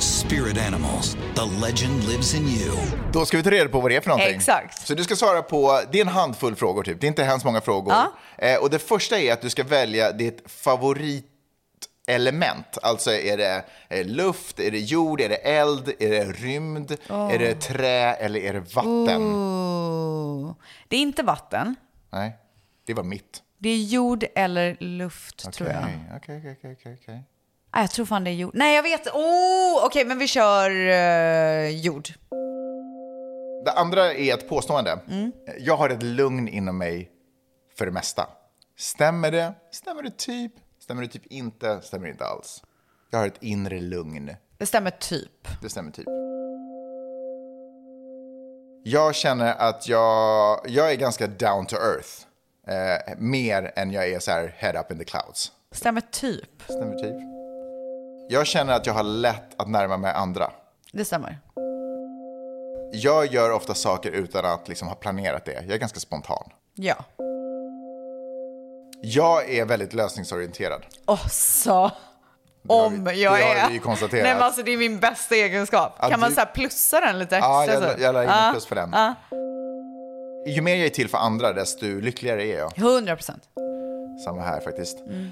Speaker 17: Spirit animals. The legend lives in you.
Speaker 3: Då ska vi ta reda på vad det är för någonting.
Speaker 1: Exakt.
Speaker 3: Så du ska svara på, det är en handfull frågor typ, det är inte hemskt många frågor. Eh, och det första är att du ska välja ditt favoritelement. Alltså är det eh, luft, är det jord, är det eld, är det rymd,
Speaker 1: Åh.
Speaker 3: är det trä eller är det vatten?
Speaker 1: Ooh. Det är inte vatten.
Speaker 3: Nej, det var mitt.
Speaker 1: Det är jord eller luft tror jag.
Speaker 3: Okej, okej, okej, okej, okej, okej.
Speaker 1: Nej, Ah, jag tror fan det är jord. Nej, jag vet. Oh, Okej, men vi kör eh, jord.
Speaker 3: Det andra är ett påstående. Jag har ett lugn inom mig för det mesta. Stämmer det? Stämmer det typ? Stämmer det typ inte? Stämmer det inte alls? Jag har ett inre lugn.
Speaker 1: Det stämmer typ.
Speaker 3: Det stämmer typ. Jag känner att jag, jag är ganska down to earth. Eh, mer än jag är så här head up in the clouds.
Speaker 1: Stämmer typ.
Speaker 3: Stämmer typ. Jag känner att jag har lätt att närma mig andra.
Speaker 1: Det stämmer.
Speaker 3: Jag gör ofta saker utan att liksom ha planerat det. Jag är ganska spontan.
Speaker 1: Ja.
Speaker 3: Jag är väldigt lösningsorienterad.
Speaker 1: Åh, så. Om jag
Speaker 3: det
Speaker 1: är.
Speaker 3: har vi ju konstaterat.
Speaker 1: Nej, men alltså, det är min bästa egenskap.
Speaker 3: Ja,
Speaker 1: kan man
Speaker 3: du-
Speaker 1: så här plussa den lite
Speaker 3: Ja,
Speaker 1: extra?
Speaker 3: jag,
Speaker 1: så?
Speaker 3: jag, lägger in
Speaker 1: Ja,
Speaker 3: plus för den.
Speaker 1: ja.
Speaker 3: Ju mer jag är till för andra, desto lyckligare är jag.
Speaker 1: 100 procent.
Speaker 3: Samma här faktiskt.
Speaker 1: Mm.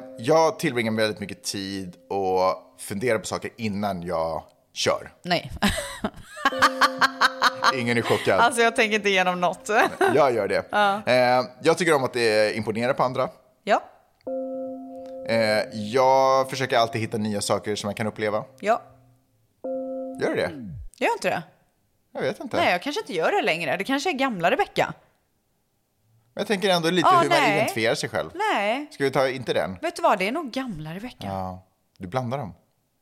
Speaker 3: Eh, jag tillbringar väldigt mycket tid och funderar på saker innan jag kör.
Speaker 1: Nej,
Speaker 3: Ingen är chockad.
Speaker 1: alltså jag tänker inte igenom något.
Speaker 3: Jag gör det.
Speaker 1: Ja.
Speaker 3: Eh, jag tycker om att eh, imponera på andra.
Speaker 1: Ja.
Speaker 3: Eh, jag försöker alltid hitta nya saker som jag kan uppleva.
Speaker 1: Ja,
Speaker 3: Gör du det?
Speaker 1: gör inte det?
Speaker 3: Jag vet inte.
Speaker 1: Nej, jag kanske inte gör det längre. Det kanske är gamla Rebecka.
Speaker 3: Jag tänker ändå lite
Speaker 1: Ah,
Speaker 3: hur man
Speaker 1: nej.
Speaker 3: identifierar sig själv.
Speaker 1: Nej,
Speaker 3: Ska vi ta inte den?
Speaker 1: vet du vad? Det är nog gamla Rebecka.
Speaker 3: Ja. Du blandar dem.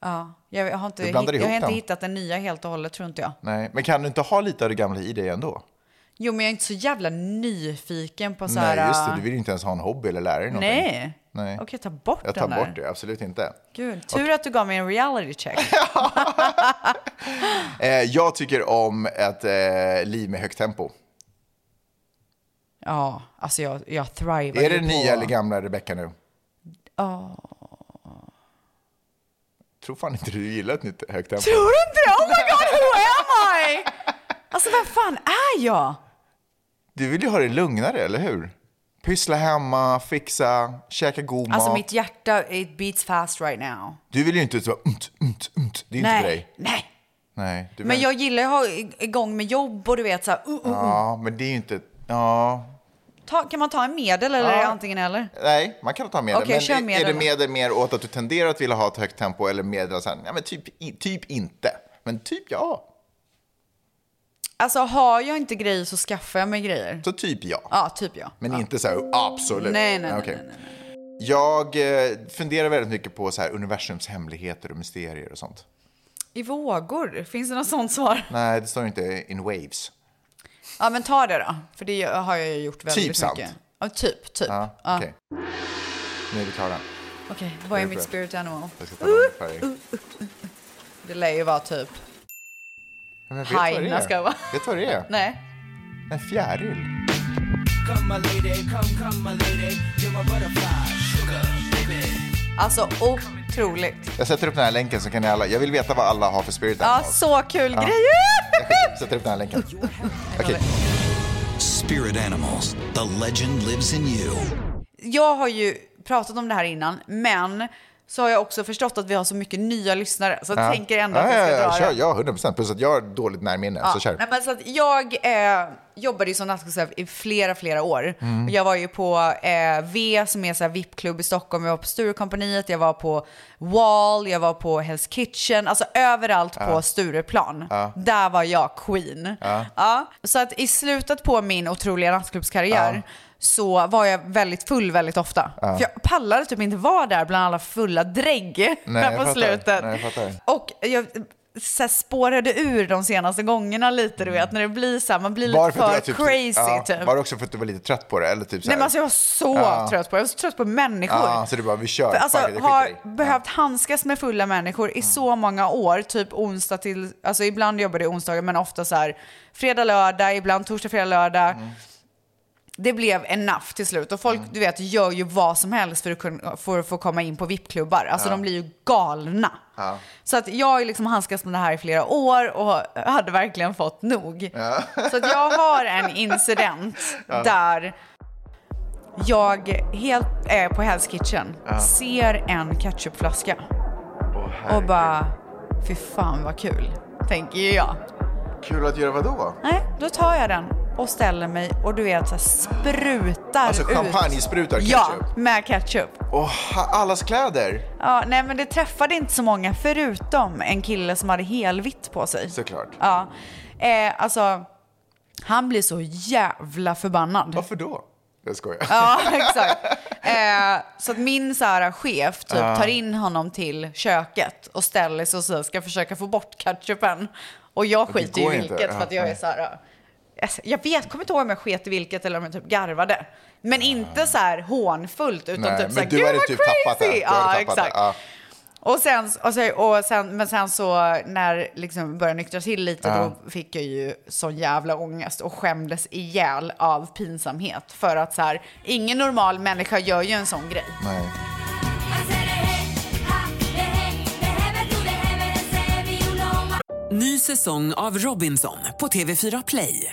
Speaker 1: Ja, jag har inte,
Speaker 3: Du
Speaker 1: hitt,
Speaker 3: blandar
Speaker 1: jag
Speaker 3: ihop
Speaker 1: har inte
Speaker 3: dem.
Speaker 1: hittat den nya helt och hållet tror inte jag.
Speaker 3: Nej, men kan du inte ha lite av det gamla i dig ändå?
Speaker 1: Jo, men jag är inte så jävla nyfiken på så här...
Speaker 3: Nej, just det.
Speaker 1: äh,
Speaker 3: Du vill ju inte ens ha en hobby eller lära dig någonting.
Speaker 1: Nej.
Speaker 3: Nej.
Speaker 1: Okej, ta bort
Speaker 3: Jag tar
Speaker 1: den där.
Speaker 3: bort det, absolut inte.
Speaker 1: Gud, tur att du gav mig en reality check.
Speaker 3: Eh, jag tycker om ett eh, liv med högt tempo.
Speaker 1: ja, alltså jag, jag thrivar
Speaker 3: är
Speaker 1: ju
Speaker 3: det
Speaker 1: på...
Speaker 3: nya eller gamla Rebecca nu?
Speaker 1: Ja.
Speaker 3: Tror fan inte du gillar ett nytt högt tempo.
Speaker 1: Tror du inte det? Oh my god, who am I? Alltså vem fan är jag?
Speaker 3: Du vill ju ha det lugnare, eller hur? Pyssla hemma, fixa, käka god mat.
Speaker 1: Alltså mitt hjärta, it beats fast right now.
Speaker 3: Du vill ju inte så umt, umt, umt. Det är ju inte
Speaker 1: Nej,
Speaker 3: för dig.
Speaker 1: nej.
Speaker 3: Nej. Du
Speaker 1: Men jag gillar ju att ha i- igång med jobb och du vet så här, uh, uh, uh.
Speaker 3: Ja, men det är ju inte... Ja.
Speaker 1: Ta, Kan man ta en medel eller är det
Speaker 3: Ja.
Speaker 1: antingen eller?
Speaker 3: Nej, man kan ta medel.
Speaker 1: Okej, kör
Speaker 3: men är- är
Speaker 1: medel
Speaker 3: det
Speaker 1: då.
Speaker 3: medel mer åt att du tenderar att vilja ha ett högt tempo eller medel så här, ja, men typ, i- typ inte. Men typ ja.
Speaker 1: Alltså har jag inte grejer så skaffar jag mig grejer.
Speaker 3: Så typ ja.
Speaker 1: Ja, typ ja.
Speaker 3: Men inte så här, absolut.
Speaker 1: Nej, nej, nej,
Speaker 3: okej. Jag eh, funderar väldigt mycket på så här, universums hemligheter och mysterier och sånt.
Speaker 1: I vågor, finns det något sånt svar?
Speaker 3: Nej, det står inte in waves.
Speaker 1: Ja men ta det då, för det har jag ju gjort väldigt
Speaker 3: Typ sant.
Speaker 1: mycket. Ja, typ, typ.
Speaker 3: Ja,
Speaker 1: Ja.
Speaker 3: okej. Nu är vi klara.
Speaker 1: Okej, vad är
Speaker 3: Jag
Speaker 1: mitt
Speaker 3: vet.
Speaker 1: spirit animal?
Speaker 3: Jag ska ta någon färg.
Speaker 1: Uh, uh, uh, uh. Det lär ju vara typ...
Speaker 3: Ja, men vet du vad det
Speaker 1: Hajna
Speaker 3: är?
Speaker 1: ska jag vara.
Speaker 3: Vet du vad det är?
Speaker 1: Nej.
Speaker 3: En fjäril.
Speaker 6: Come, my lady, come, come, my lady. You're my butterfly, sugar, baby.
Speaker 1: Alltså otroligt.
Speaker 3: Jag sätter upp den här länken så kan ni alla, jag vill veta vad alla har för spirit
Speaker 1: Ja,
Speaker 3: animals.
Speaker 1: så kul
Speaker 3: Ja.
Speaker 1: grejer!
Speaker 3: Jag skickar- sätter upp den här länken. Okej.
Speaker 17: Spirit Animals, the legend lives in you.
Speaker 1: Jag har ju pratat om det här innan, men så har jag också förstått att vi har så mycket nya lyssnare, så jag tänker ändå
Speaker 3: ja,
Speaker 1: att jag
Speaker 3: ja,
Speaker 1: ska
Speaker 3: ja,
Speaker 1: dra
Speaker 3: kör,
Speaker 1: det.
Speaker 3: Ja, 100 procent. Plus att jag har dåligt närminne, så kör.
Speaker 1: Nej, men så att jag eh, jobbade ju som nattkonserv i flera, flera år.
Speaker 3: Mm.
Speaker 1: Jag var ju på eh, V som är så här VIP-klubb i Stockholm, jag var på Sturecompagniet, jag var på Wall, jag var på Hell's Kitchen, alltså överallt på
Speaker 3: Ja.
Speaker 1: Stureplan.
Speaker 3: Ja.
Speaker 1: Där var jag queen.
Speaker 3: Ja.
Speaker 1: Ja, så att i slutet på min otroliga nattklubbskarriär
Speaker 3: Ja.
Speaker 1: så var jag väldigt full väldigt ofta.
Speaker 3: Ja.
Speaker 1: För jag pallade typ inte vara där bland alla fulla drägg
Speaker 3: Nej, jag
Speaker 1: där på
Speaker 3: fattar.
Speaker 1: slutet.
Speaker 3: Nej, jag fattar.
Speaker 1: Och jag så här, spårade ur de senaste gångerna lite, du vet, när det blir så här, man blir lite
Speaker 3: Bara att
Speaker 1: för
Speaker 3: du var
Speaker 1: crazy
Speaker 3: ja,
Speaker 1: typ.
Speaker 3: Var det också för att du var lite trött på det? Eller typ så
Speaker 1: Nej
Speaker 3: här-
Speaker 1: men alltså jag var så
Speaker 3: Ja.
Speaker 1: trött på det, jag var så trött på människor.
Speaker 3: Ja, så du bara, vi kör.
Speaker 1: För, alltså,
Speaker 3: Fuck it, jag skiter i.
Speaker 1: har behövt handskas med fulla människor i
Speaker 3: Mm.
Speaker 1: så många år, typ onsdag till, alltså ibland jobbade jag onsdagar men ofta så här fredag, lördag, ibland torsdag, fredag, lördag.
Speaker 3: Mm.
Speaker 1: Det blev enough till slut och folk du vet gör ju vad som helst för att, kunna, för att få komma in på VIP-klubbar. Alltså
Speaker 3: Ja.
Speaker 1: de blir ju galna.
Speaker 3: Ja.
Speaker 1: Så att jag har ju liksom handskats med det här i flera år och hade verkligen fått nog. Så att jag har en incident
Speaker 3: Ja.
Speaker 1: där jag helt är på Hell's Kitchen,
Speaker 3: Ja.
Speaker 1: ser en ketchupflaska och bara, fy fan vad kul, tänker ju jag.
Speaker 3: Kul att göra vadå?
Speaker 1: Nej, då tar jag den och ställer mig och du vet så här, sprutar
Speaker 3: Alltså
Speaker 1: ut.
Speaker 3: champagnesprutar ketchup?
Speaker 1: Ja, med ketchup.
Speaker 3: Och ha- allas kläder?
Speaker 1: Ja, nej men det träffade inte så många förutom en kille som hade helvitt på sig.
Speaker 3: Såklart.
Speaker 1: Ja. Eh, alltså, han blir så jävla förbannad.
Speaker 3: Varför då? Jag skojar.
Speaker 1: Ja, exakt. Eh, så att min så här, chef typ,
Speaker 3: Ja.
Speaker 1: tar in honom till köket och ställer sig och så här, ska försöka få bort ketchupen. Och jag
Speaker 3: Och det
Speaker 1: skiter i
Speaker 3: går inte.
Speaker 1: vilket för att jag är så här... ja. Alltså, Jag vet, kommer inte ihåg om jag sket i vilket eller om jag typ garvade. Men inte så här hånfullt utan
Speaker 3: Nej,
Speaker 1: typ så här,
Speaker 3: men du hade
Speaker 1: vad
Speaker 3: typ
Speaker 1: crazy!
Speaker 3: tappat det. Du
Speaker 1: Ja,
Speaker 3: hade tappat
Speaker 1: exakt.
Speaker 3: det. Ja.
Speaker 1: Och sen, och sen, och sen, men sen så när liksom började nyktra till lite
Speaker 3: Ja.
Speaker 1: då fick jag ju sån jävla ångest och skämdes ihjäl av pinsamhet. För att så här, ingen normal människa gör ju en sån grej.
Speaker 3: Nej.
Speaker 7: säsong av Robinson på TV4 Play.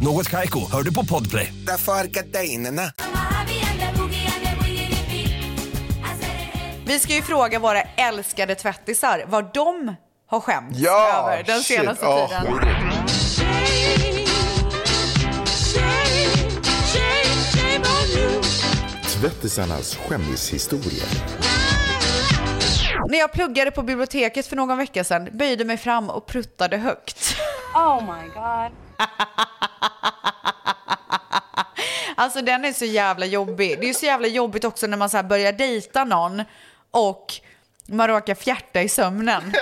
Speaker 16: Något Kaiko, hör du på Podplay.
Speaker 18: Därför är gardinerna.
Speaker 1: Vi ska ju fråga våra älskade tvättisar vad de har skämts
Speaker 3: Ja,
Speaker 1: över den
Speaker 3: shit.
Speaker 1: senaste
Speaker 3: Ja,
Speaker 1: tiden.
Speaker 3: skit.
Speaker 19: Tvättisarnas skämmishistoria.
Speaker 1: När jag pluggade på biblioteket för någon vecka sedan böjde mig fram och pruttade högt.
Speaker 20: Oh my god.
Speaker 1: Alltså den är så jävla jobbig. Det är så jävla jobbigt också när man så här börjar dejta någon och man råkar fjärta i sömnen.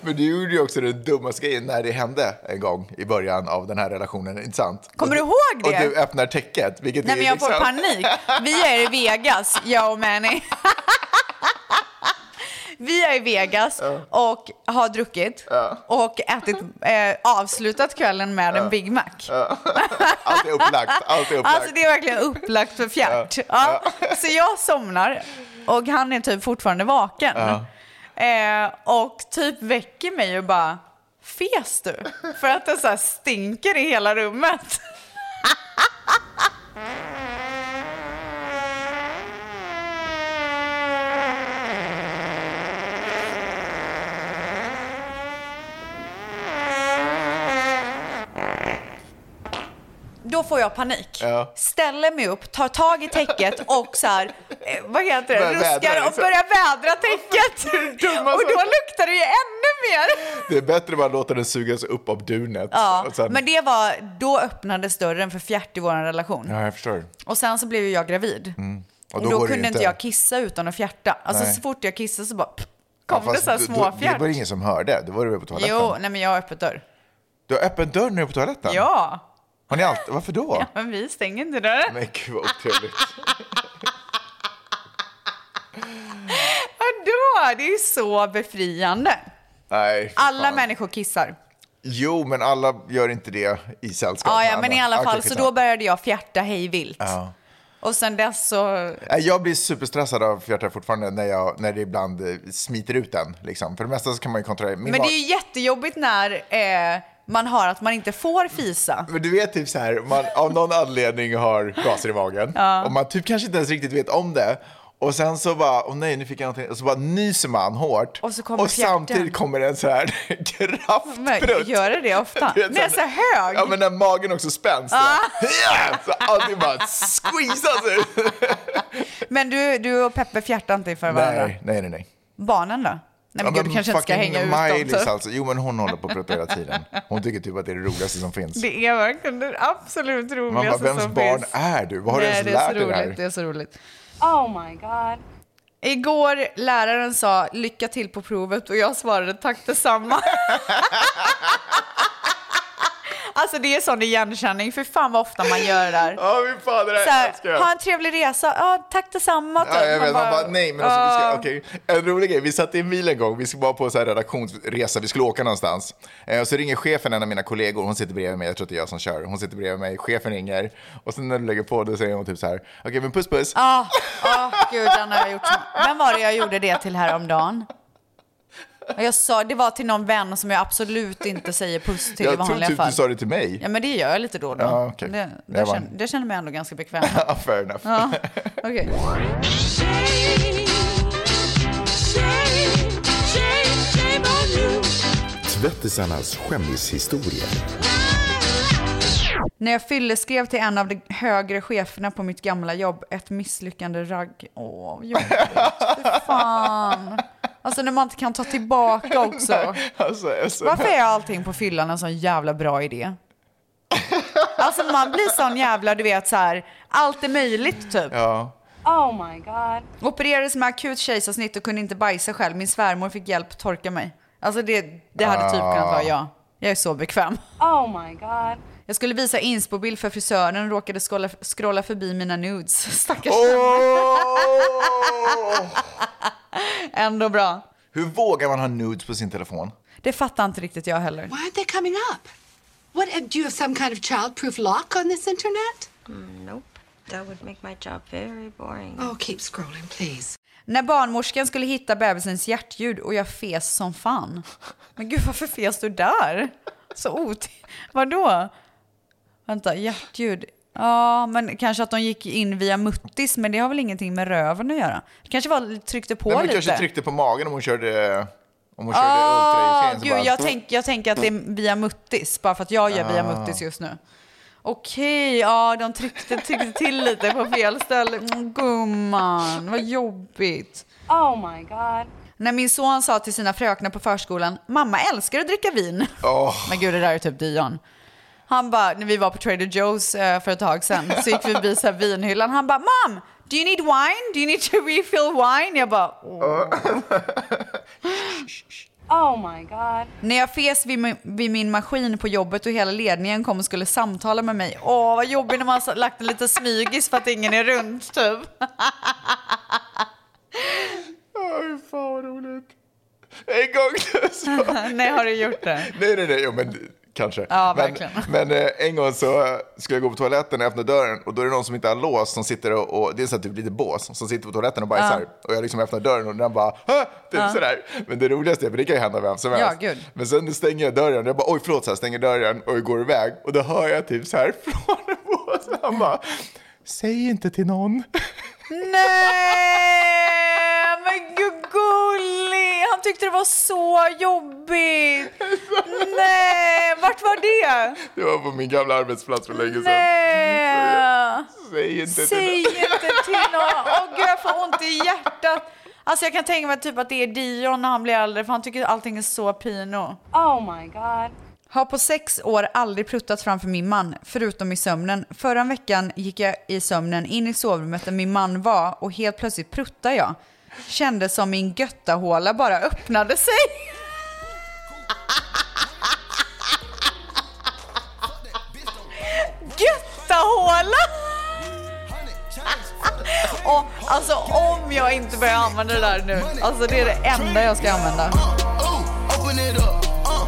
Speaker 3: Men du gjorde ju också den dummaste grejen när det hände en gång i början av den här relationen, inte sant?
Speaker 1: Kommer du ihåg det?
Speaker 3: Och du öppnar täcket, vilket
Speaker 1: Nej
Speaker 3: är
Speaker 1: men jag får
Speaker 3: liksom...
Speaker 1: panik. Vi är i Vegas, jag och Manny. Vi är i Vegas och har druckit och ätit, eh, avslutat kvällen med en Big Mac.
Speaker 3: Allt är upplagt, allt är upplagt.
Speaker 1: Alltså det är verkligen upplagt för fjärt. Ja. Så jag somnar och han är typ fortfarande vaken.
Speaker 3: Ja.
Speaker 1: Eh, och typ väcker mig och bara, fes du? För att det så här stinker i hela rummet. Då får jag panik. Ställer mig upp, tar tag i täcket och så här, eh, vad heter det,
Speaker 3: Börjar vädra,
Speaker 1: ruskar och
Speaker 3: liksom.
Speaker 1: börjar vädra täcket. Och då luktar det ju ännu mer.
Speaker 3: Det är bättre att bara låta den sugas upp av dunet.
Speaker 1: Ja,
Speaker 3: och sen...
Speaker 1: men det var, då öppnades dörren för fjärt i vår relation.
Speaker 3: ja jag förstår.
Speaker 1: Och sen så blev ju jag gravid.
Speaker 3: Mm.
Speaker 1: Och
Speaker 3: då
Speaker 1: då,
Speaker 3: går det ju
Speaker 1: kunde inte jag kissa utan att fjärta. Alltså
Speaker 3: Nej.
Speaker 1: så fort jag kissade så bara pff,
Speaker 3: Ja,
Speaker 1: kom det
Speaker 3: fast
Speaker 1: så här
Speaker 3: du- du-
Speaker 1: småfjärt.
Speaker 3: Det var ingen som hörde, då var du på toaletten.
Speaker 1: Jo, nej men jag har öppet dörr.
Speaker 3: Du har öppen dörr nu på toaletten?
Speaker 1: Ja,
Speaker 3: Har ni alltid, varför då?
Speaker 1: men vi stänger inte dörren.
Speaker 3: Men gud vad otrevligt.
Speaker 1: Vadå? Det är ju så befriande.
Speaker 3: Nej, för
Speaker 1: Alla
Speaker 3: fan.
Speaker 1: människor kissar.
Speaker 3: Jo, men alla gör inte det i sällskap.
Speaker 1: Ja,
Speaker 3: med
Speaker 1: ja, men
Speaker 3: andra.
Speaker 1: i alla
Speaker 3: Okej,
Speaker 1: fall, så
Speaker 3: skitsamma.
Speaker 1: då började jag fjärta hej vilt.
Speaker 3: Ja.
Speaker 1: Och sen dess så...
Speaker 3: Nej, Jag blir superstressad av fjärtar fortfarande när, jag, när det ibland eh, smiter ut den. Liksom. För det mesta så kan man ju kontrollera. Min
Speaker 1: Men det
Speaker 3: mag-
Speaker 1: är ju jättejobbigt när eh, man har att man inte får fisa.
Speaker 3: Men du vet typ så här, man av någon anledning har gaser i magen
Speaker 1: Ja.
Speaker 3: och man typ kanske inte ens riktigt vet om det. Och sen så bara, åh nej nu fick jag någonting. Och så bara nyser man hårt. Och,
Speaker 1: så kommer fjärten.
Speaker 3: samtidigt kommer en så här kraftprutt.
Speaker 1: Men gör det det ofta?
Speaker 3: Du vet,
Speaker 1: När jag är så hög?
Speaker 3: Ja men när magen också spänns. så
Speaker 1: Ah.
Speaker 3: Ja! Så allting bara squeezas ut.
Speaker 1: Men du, du och Peppe fjärtar inte inför varandra?
Speaker 3: Nej, nej, nej. nej.
Speaker 1: Barnen då? Nej men, gud, du kanske inte ska
Speaker 3: fucking
Speaker 1: hänga typ. ut dem.
Speaker 3: Miley's
Speaker 1: så.
Speaker 3: alltså. Jo men hon håller på att prutta hela tiden. Hon tycker typ att det är det roligaste som finns.
Speaker 1: Det är verkligen det absolut
Speaker 3: Man bara,
Speaker 1: roligaste
Speaker 3: vems
Speaker 1: som
Speaker 3: barn
Speaker 1: finns.
Speaker 3: är du? Vad har
Speaker 1: Nej,
Speaker 3: du
Speaker 1: det
Speaker 3: ens
Speaker 1: är
Speaker 3: lärt
Speaker 1: så
Speaker 3: dig det
Speaker 1: roligt,
Speaker 3: här?
Speaker 1: Det är så roligt.
Speaker 20: Oh my god.
Speaker 1: Igår läraren sa lycka till på provet och jag svarade tack detsamma. alltså det är sån igenkänning, för fan vad ofta man gör det där.
Speaker 3: Ja, min fan, det där
Speaker 1: Så här,
Speaker 3: älskar jag.
Speaker 1: ha en trevlig resa, ja, tack detsamma.
Speaker 3: Ja, jag
Speaker 1: Man
Speaker 3: vet. Man bara, nej, men alltså, vi
Speaker 1: "Ah."
Speaker 3: ska, okej. En rolig grej, vi satt i en bil en gång, vi var på så här redaktionsresa, vi skulle åka någonstans. Eh, och så ringer chefen, en av mina kollegor, hon sitter bredvid mig, jag tror att det är jag som kör, hon sitter bredvid mig, chefen ringer och sen när du lägger på då säger hon typ så här, okej men puss puss.
Speaker 1: Ja, ja, gud, den har jag gjort. så- Vem var det jag gjorde det till häromdagen? Och Jag sa, det var till någon vän som jag absolut inte säger puss till i
Speaker 3: jag tror
Speaker 1: vanliga
Speaker 3: typ
Speaker 1: fall.
Speaker 3: du sa det till mig.
Speaker 1: Ja, men det gör jag lite då och då.
Speaker 3: Ja, okej.
Speaker 1: det,
Speaker 3: Jag
Speaker 1: där
Speaker 3: var-
Speaker 1: känner, det känner mig ändå ganska bekväm med.
Speaker 3: Ja, Fair enough.
Speaker 1: Ja, okej.
Speaker 19: Tvättisarnas skämmishistoria.
Speaker 1: När jag fylleskrev till en av de högre cheferna på mitt gamla jobb, ett misslyckande ragg. Åh, vad jobbigt. Fy fan. Alltså när man inte kan ta tillbaka också.
Speaker 3: Alltså, alltså,
Speaker 1: Varför är allting på fyllan en sån jävla bra idé? Alltså man blir sån jävla, du vet så här, allt är möjligt typ.
Speaker 3: Ja.
Speaker 20: Oh my god.
Speaker 1: Opererades med akut kejsarsnitt och kunde inte bajsa själv. Min svärmor fick hjälp torka mig. Alltså det, det hade typ kunnat vara jag. Jag är så bekväm.
Speaker 20: Oh my god.
Speaker 1: Jag skulle visa inspobild för frisören och råkade scrolla, scrolla förbi mina nudes. Stackars Ändå bra.
Speaker 3: Hur vågar man ha nudes på sin telefon?
Speaker 1: Det fattar inte riktigt jag heller.
Speaker 4: Why aren't they coming up? What uh, do you have some kind of child-proof lock on this internet?
Speaker 5: Nope. That would make my job very boring.
Speaker 4: Oh, keep scrolling, please.
Speaker 1: När barnmorskan skulle hitta bebisens hjärtljud och jag fes som fan. Men gud, varför fes du där? Så ot... Vadå? Vänta, hjärtljud. Ja, men kanske att de gick in via muttis, men det har väl ingenting med röven att göra? Det kanske var tryckte på
Speaker 3: Nej, men
Speaker 1: lite.
Speaker 3: kanske tryckte på magen om hon körde, om hon körde
Speaker 1: Ah,
Speaker 3: ultraljudsscenen. så bara-
Speaker 1: gud, jag, tänk, jag tänker att det är via muttis, bara för att jag gör via
Speaker 3: Ah.
Speaker 1: muttis just nu. Okej, ja, de tryckte, tryckte till lite på fel ställe. Mm, Gumman, vad jobbigt.
Speaker 20: Oh my god.
Speaker 1: När min son sa till sina fröknar på förskolan, mamma älskar att dricka vin. Men gud, det där är typ Dion. Han bara, när vi var på Trader Joe's eh, för ett tag sedan, så gick vi förbi så här vinhyllan. Han bara, mom, do you need wine? Do you need to refill wine? Jag bara,
Speaker 20: Oh my god.
Speaker 1: När jag fes vid, min- vid min maskin på jobbet och hela ledningen kom och skulle samtala med mig. Åh, vad jobbigt när man har lagt en liten smygis för att ingen är runt, typ.
Speaker 3: Oj, fan vad roligt. En gång du sa...
Speaker 1: nej, har du gjort det?
Speaker 3: Nej, nej, nej, jo, men kanske.
Speaker 1: Ja,
Speaker 3: men,
Speaker 1: verkligen.
Speaker 3: men eh, en gång så eh, skulle jag gå på toaletten och öppna dörren och då är det någon som inte har låst som sitter och, och det är så här typ lite bås som sitter på toaletten och bajsar.
Speaker 1: Ja.
Speaker 3: Och jag liksom öppnar dörren och den bara "Hä?" typ
Speaker 1: Ja.
Speaker 3: sådär. Men det roligaste är, för det kan ju hända vem som
Speaker 1: Ja,
Speaker 3: helst.
Speaker 1: gud.
Speaker 3: Men sen stänger jag dörren och jag bara oj förlåt, så här, stänger dörren och går iväg och då hör jag typ så här från båsen. Han bara säg inte till någon.
Speaker 1: Nej, men gud gullig. Han tyckte det var så jobbigt. Nej, vart var det?
Speaker 3: Det var på min gamla arbetsplats för länge sedan.
Speaker 1: Nej.
Speaker 3: Säg inte till
Speaker 1: Säg
Speaker 3: någon.
Speaker 1: inte till någon. Åh gud, jag får ont i hjärtat. Alltså jag kan tänka mig typ att det är Dion när han blir äldre för han tycker allting är så pino.
Speaker 20: Oh my god.
Speaker 1: Har på sex år aldrig pruttat framför min man, förutom i sömnen. Förra veckan gick jag i sömnen in i sovrummet där min man var och helt plötsligt pruttade jag. Kändes som min göttahåla bara öppnade sig. Göttahåla! Och, alltså om jag inte börjar använda det där nu, alltså det är det enda jag ska använda.
Speaker 21: Open it up. Uh, oh,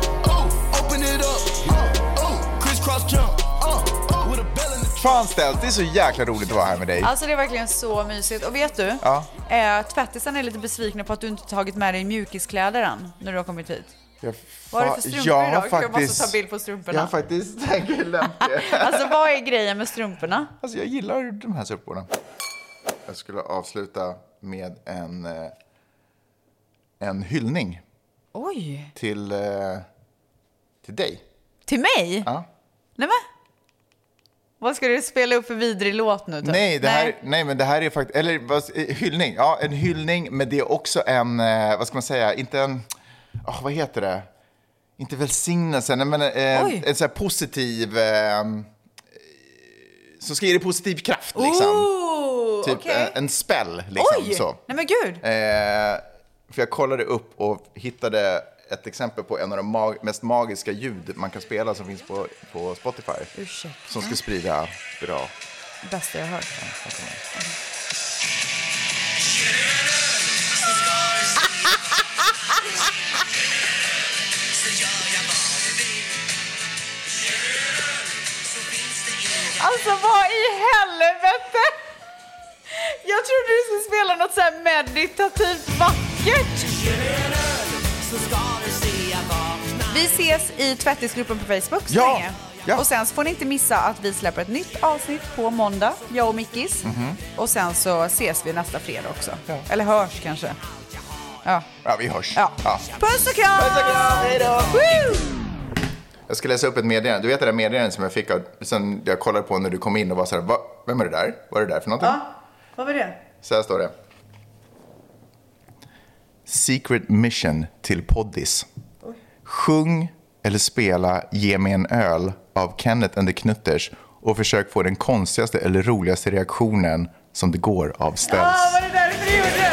Speaker 21: open it up. Uh, oh, crisscross jump. Uh, oh, with a bell in the
Speaker 3: Fan Stelt, det är så jäkla roligt att vara här med dig.
Speaker 1: Alltså det är verkligen så mysigt. Och vet du?
Speaker 3: Ja.
Speaker 1: Eh, tvättisen är lite besvikna på att du inte tagit med dig mjukiskläder än när du har kommit hit.
Speaker 3: Jag,
Speaker 1: Vad är det
Speaker 3: fa-
Speaker 1: för strumpor
Speaker 3: jag har
Speaker 1: idag? Faktiskt... Jag måste
Speaker 3: faktiskt-
Speaker 1: ta bild på strumporna.
Speaker 3: Jag har faktiskt glömt det.
Speaker 1: Alltså vad är grejen med strumporna?
Speaker 3: Alltså jag gillar de här supporna. Jag skulle avsluta med en, eh, en hyllning
Speaker 1: Oj,
Speaker 3: till, eh, till dig.
Speaker 1: till mig?
Speaker 3: Ja.
Speaker 1: Nej men. Vad ska du spela upp för vidrig låt nu? typ?
Speaker 3: Nej, det här, nej. men det här är faktiskt, eller vad, eh, hyllning, ja en hyllning, men det är också en, eh, vad ska man säga, inte en, ah, vad heter det, inte välsignelse, nej men
Speaker 1: Oj.
Speaker 3: eh, en så här positiv, eh, som ska ge dig positiv kraft liksom.
Speaker 1: Ooh,
Speaker 3: typ
Speaker 1: okej.
Speaker 3: eh, en spell liksom.
Speaker 1: Oj,
Speaker 3: Så.
Speaker 1: nej men gud.
Speaker 3: Eh, för jag kollade upp och hittade ett exempel på en av de mag- mest magiska ljud man kan spela som finns på, på Spotify.
Speaker 1: Ursäkta.
Speaker 3: Som ska sprida bra.
Speaker 1: Bästa jag hört. Alltså vad i helvete! Jag trodde du skulle spela något så här meditativt vackert. Vi ses i tvättisgruppen på Facebook så
Speaker 3: Ja,
Speaker 1: länge.
Speaker 3: ja.
Speaker 1: Och sen så får ni inte missa att vi släpper ett nytt avsnitt på måndag, jag och Mickis.
Speaker 3: Mhm.
Speaker 1: Och sen så ses vi nästa fredag också. Eller hörs kanske. Ja.
Speaker 3: Ja, vi hörs. Ja.
Speaker 1: Puss och kram! Puss och kram, hejdå! Woo!
Speaker 3: Jag ska läsa upp ett meddelande. Du vet det där meddelandet som jag fick av, som jag kollade på när du kom in och var så här, Va? vem är det där? Vad är det där för någonting?
Speaker 1: Vad var det?
Speaker 3: Så här står det. secret mission till poddis. Sjung eller spela Ge mig en öl av Kenneth and the Knutters och försök få den konstigaste eller roligaste reaktionen som det går av Ställs.
Speaker 1: vad är det därför du gjorde det?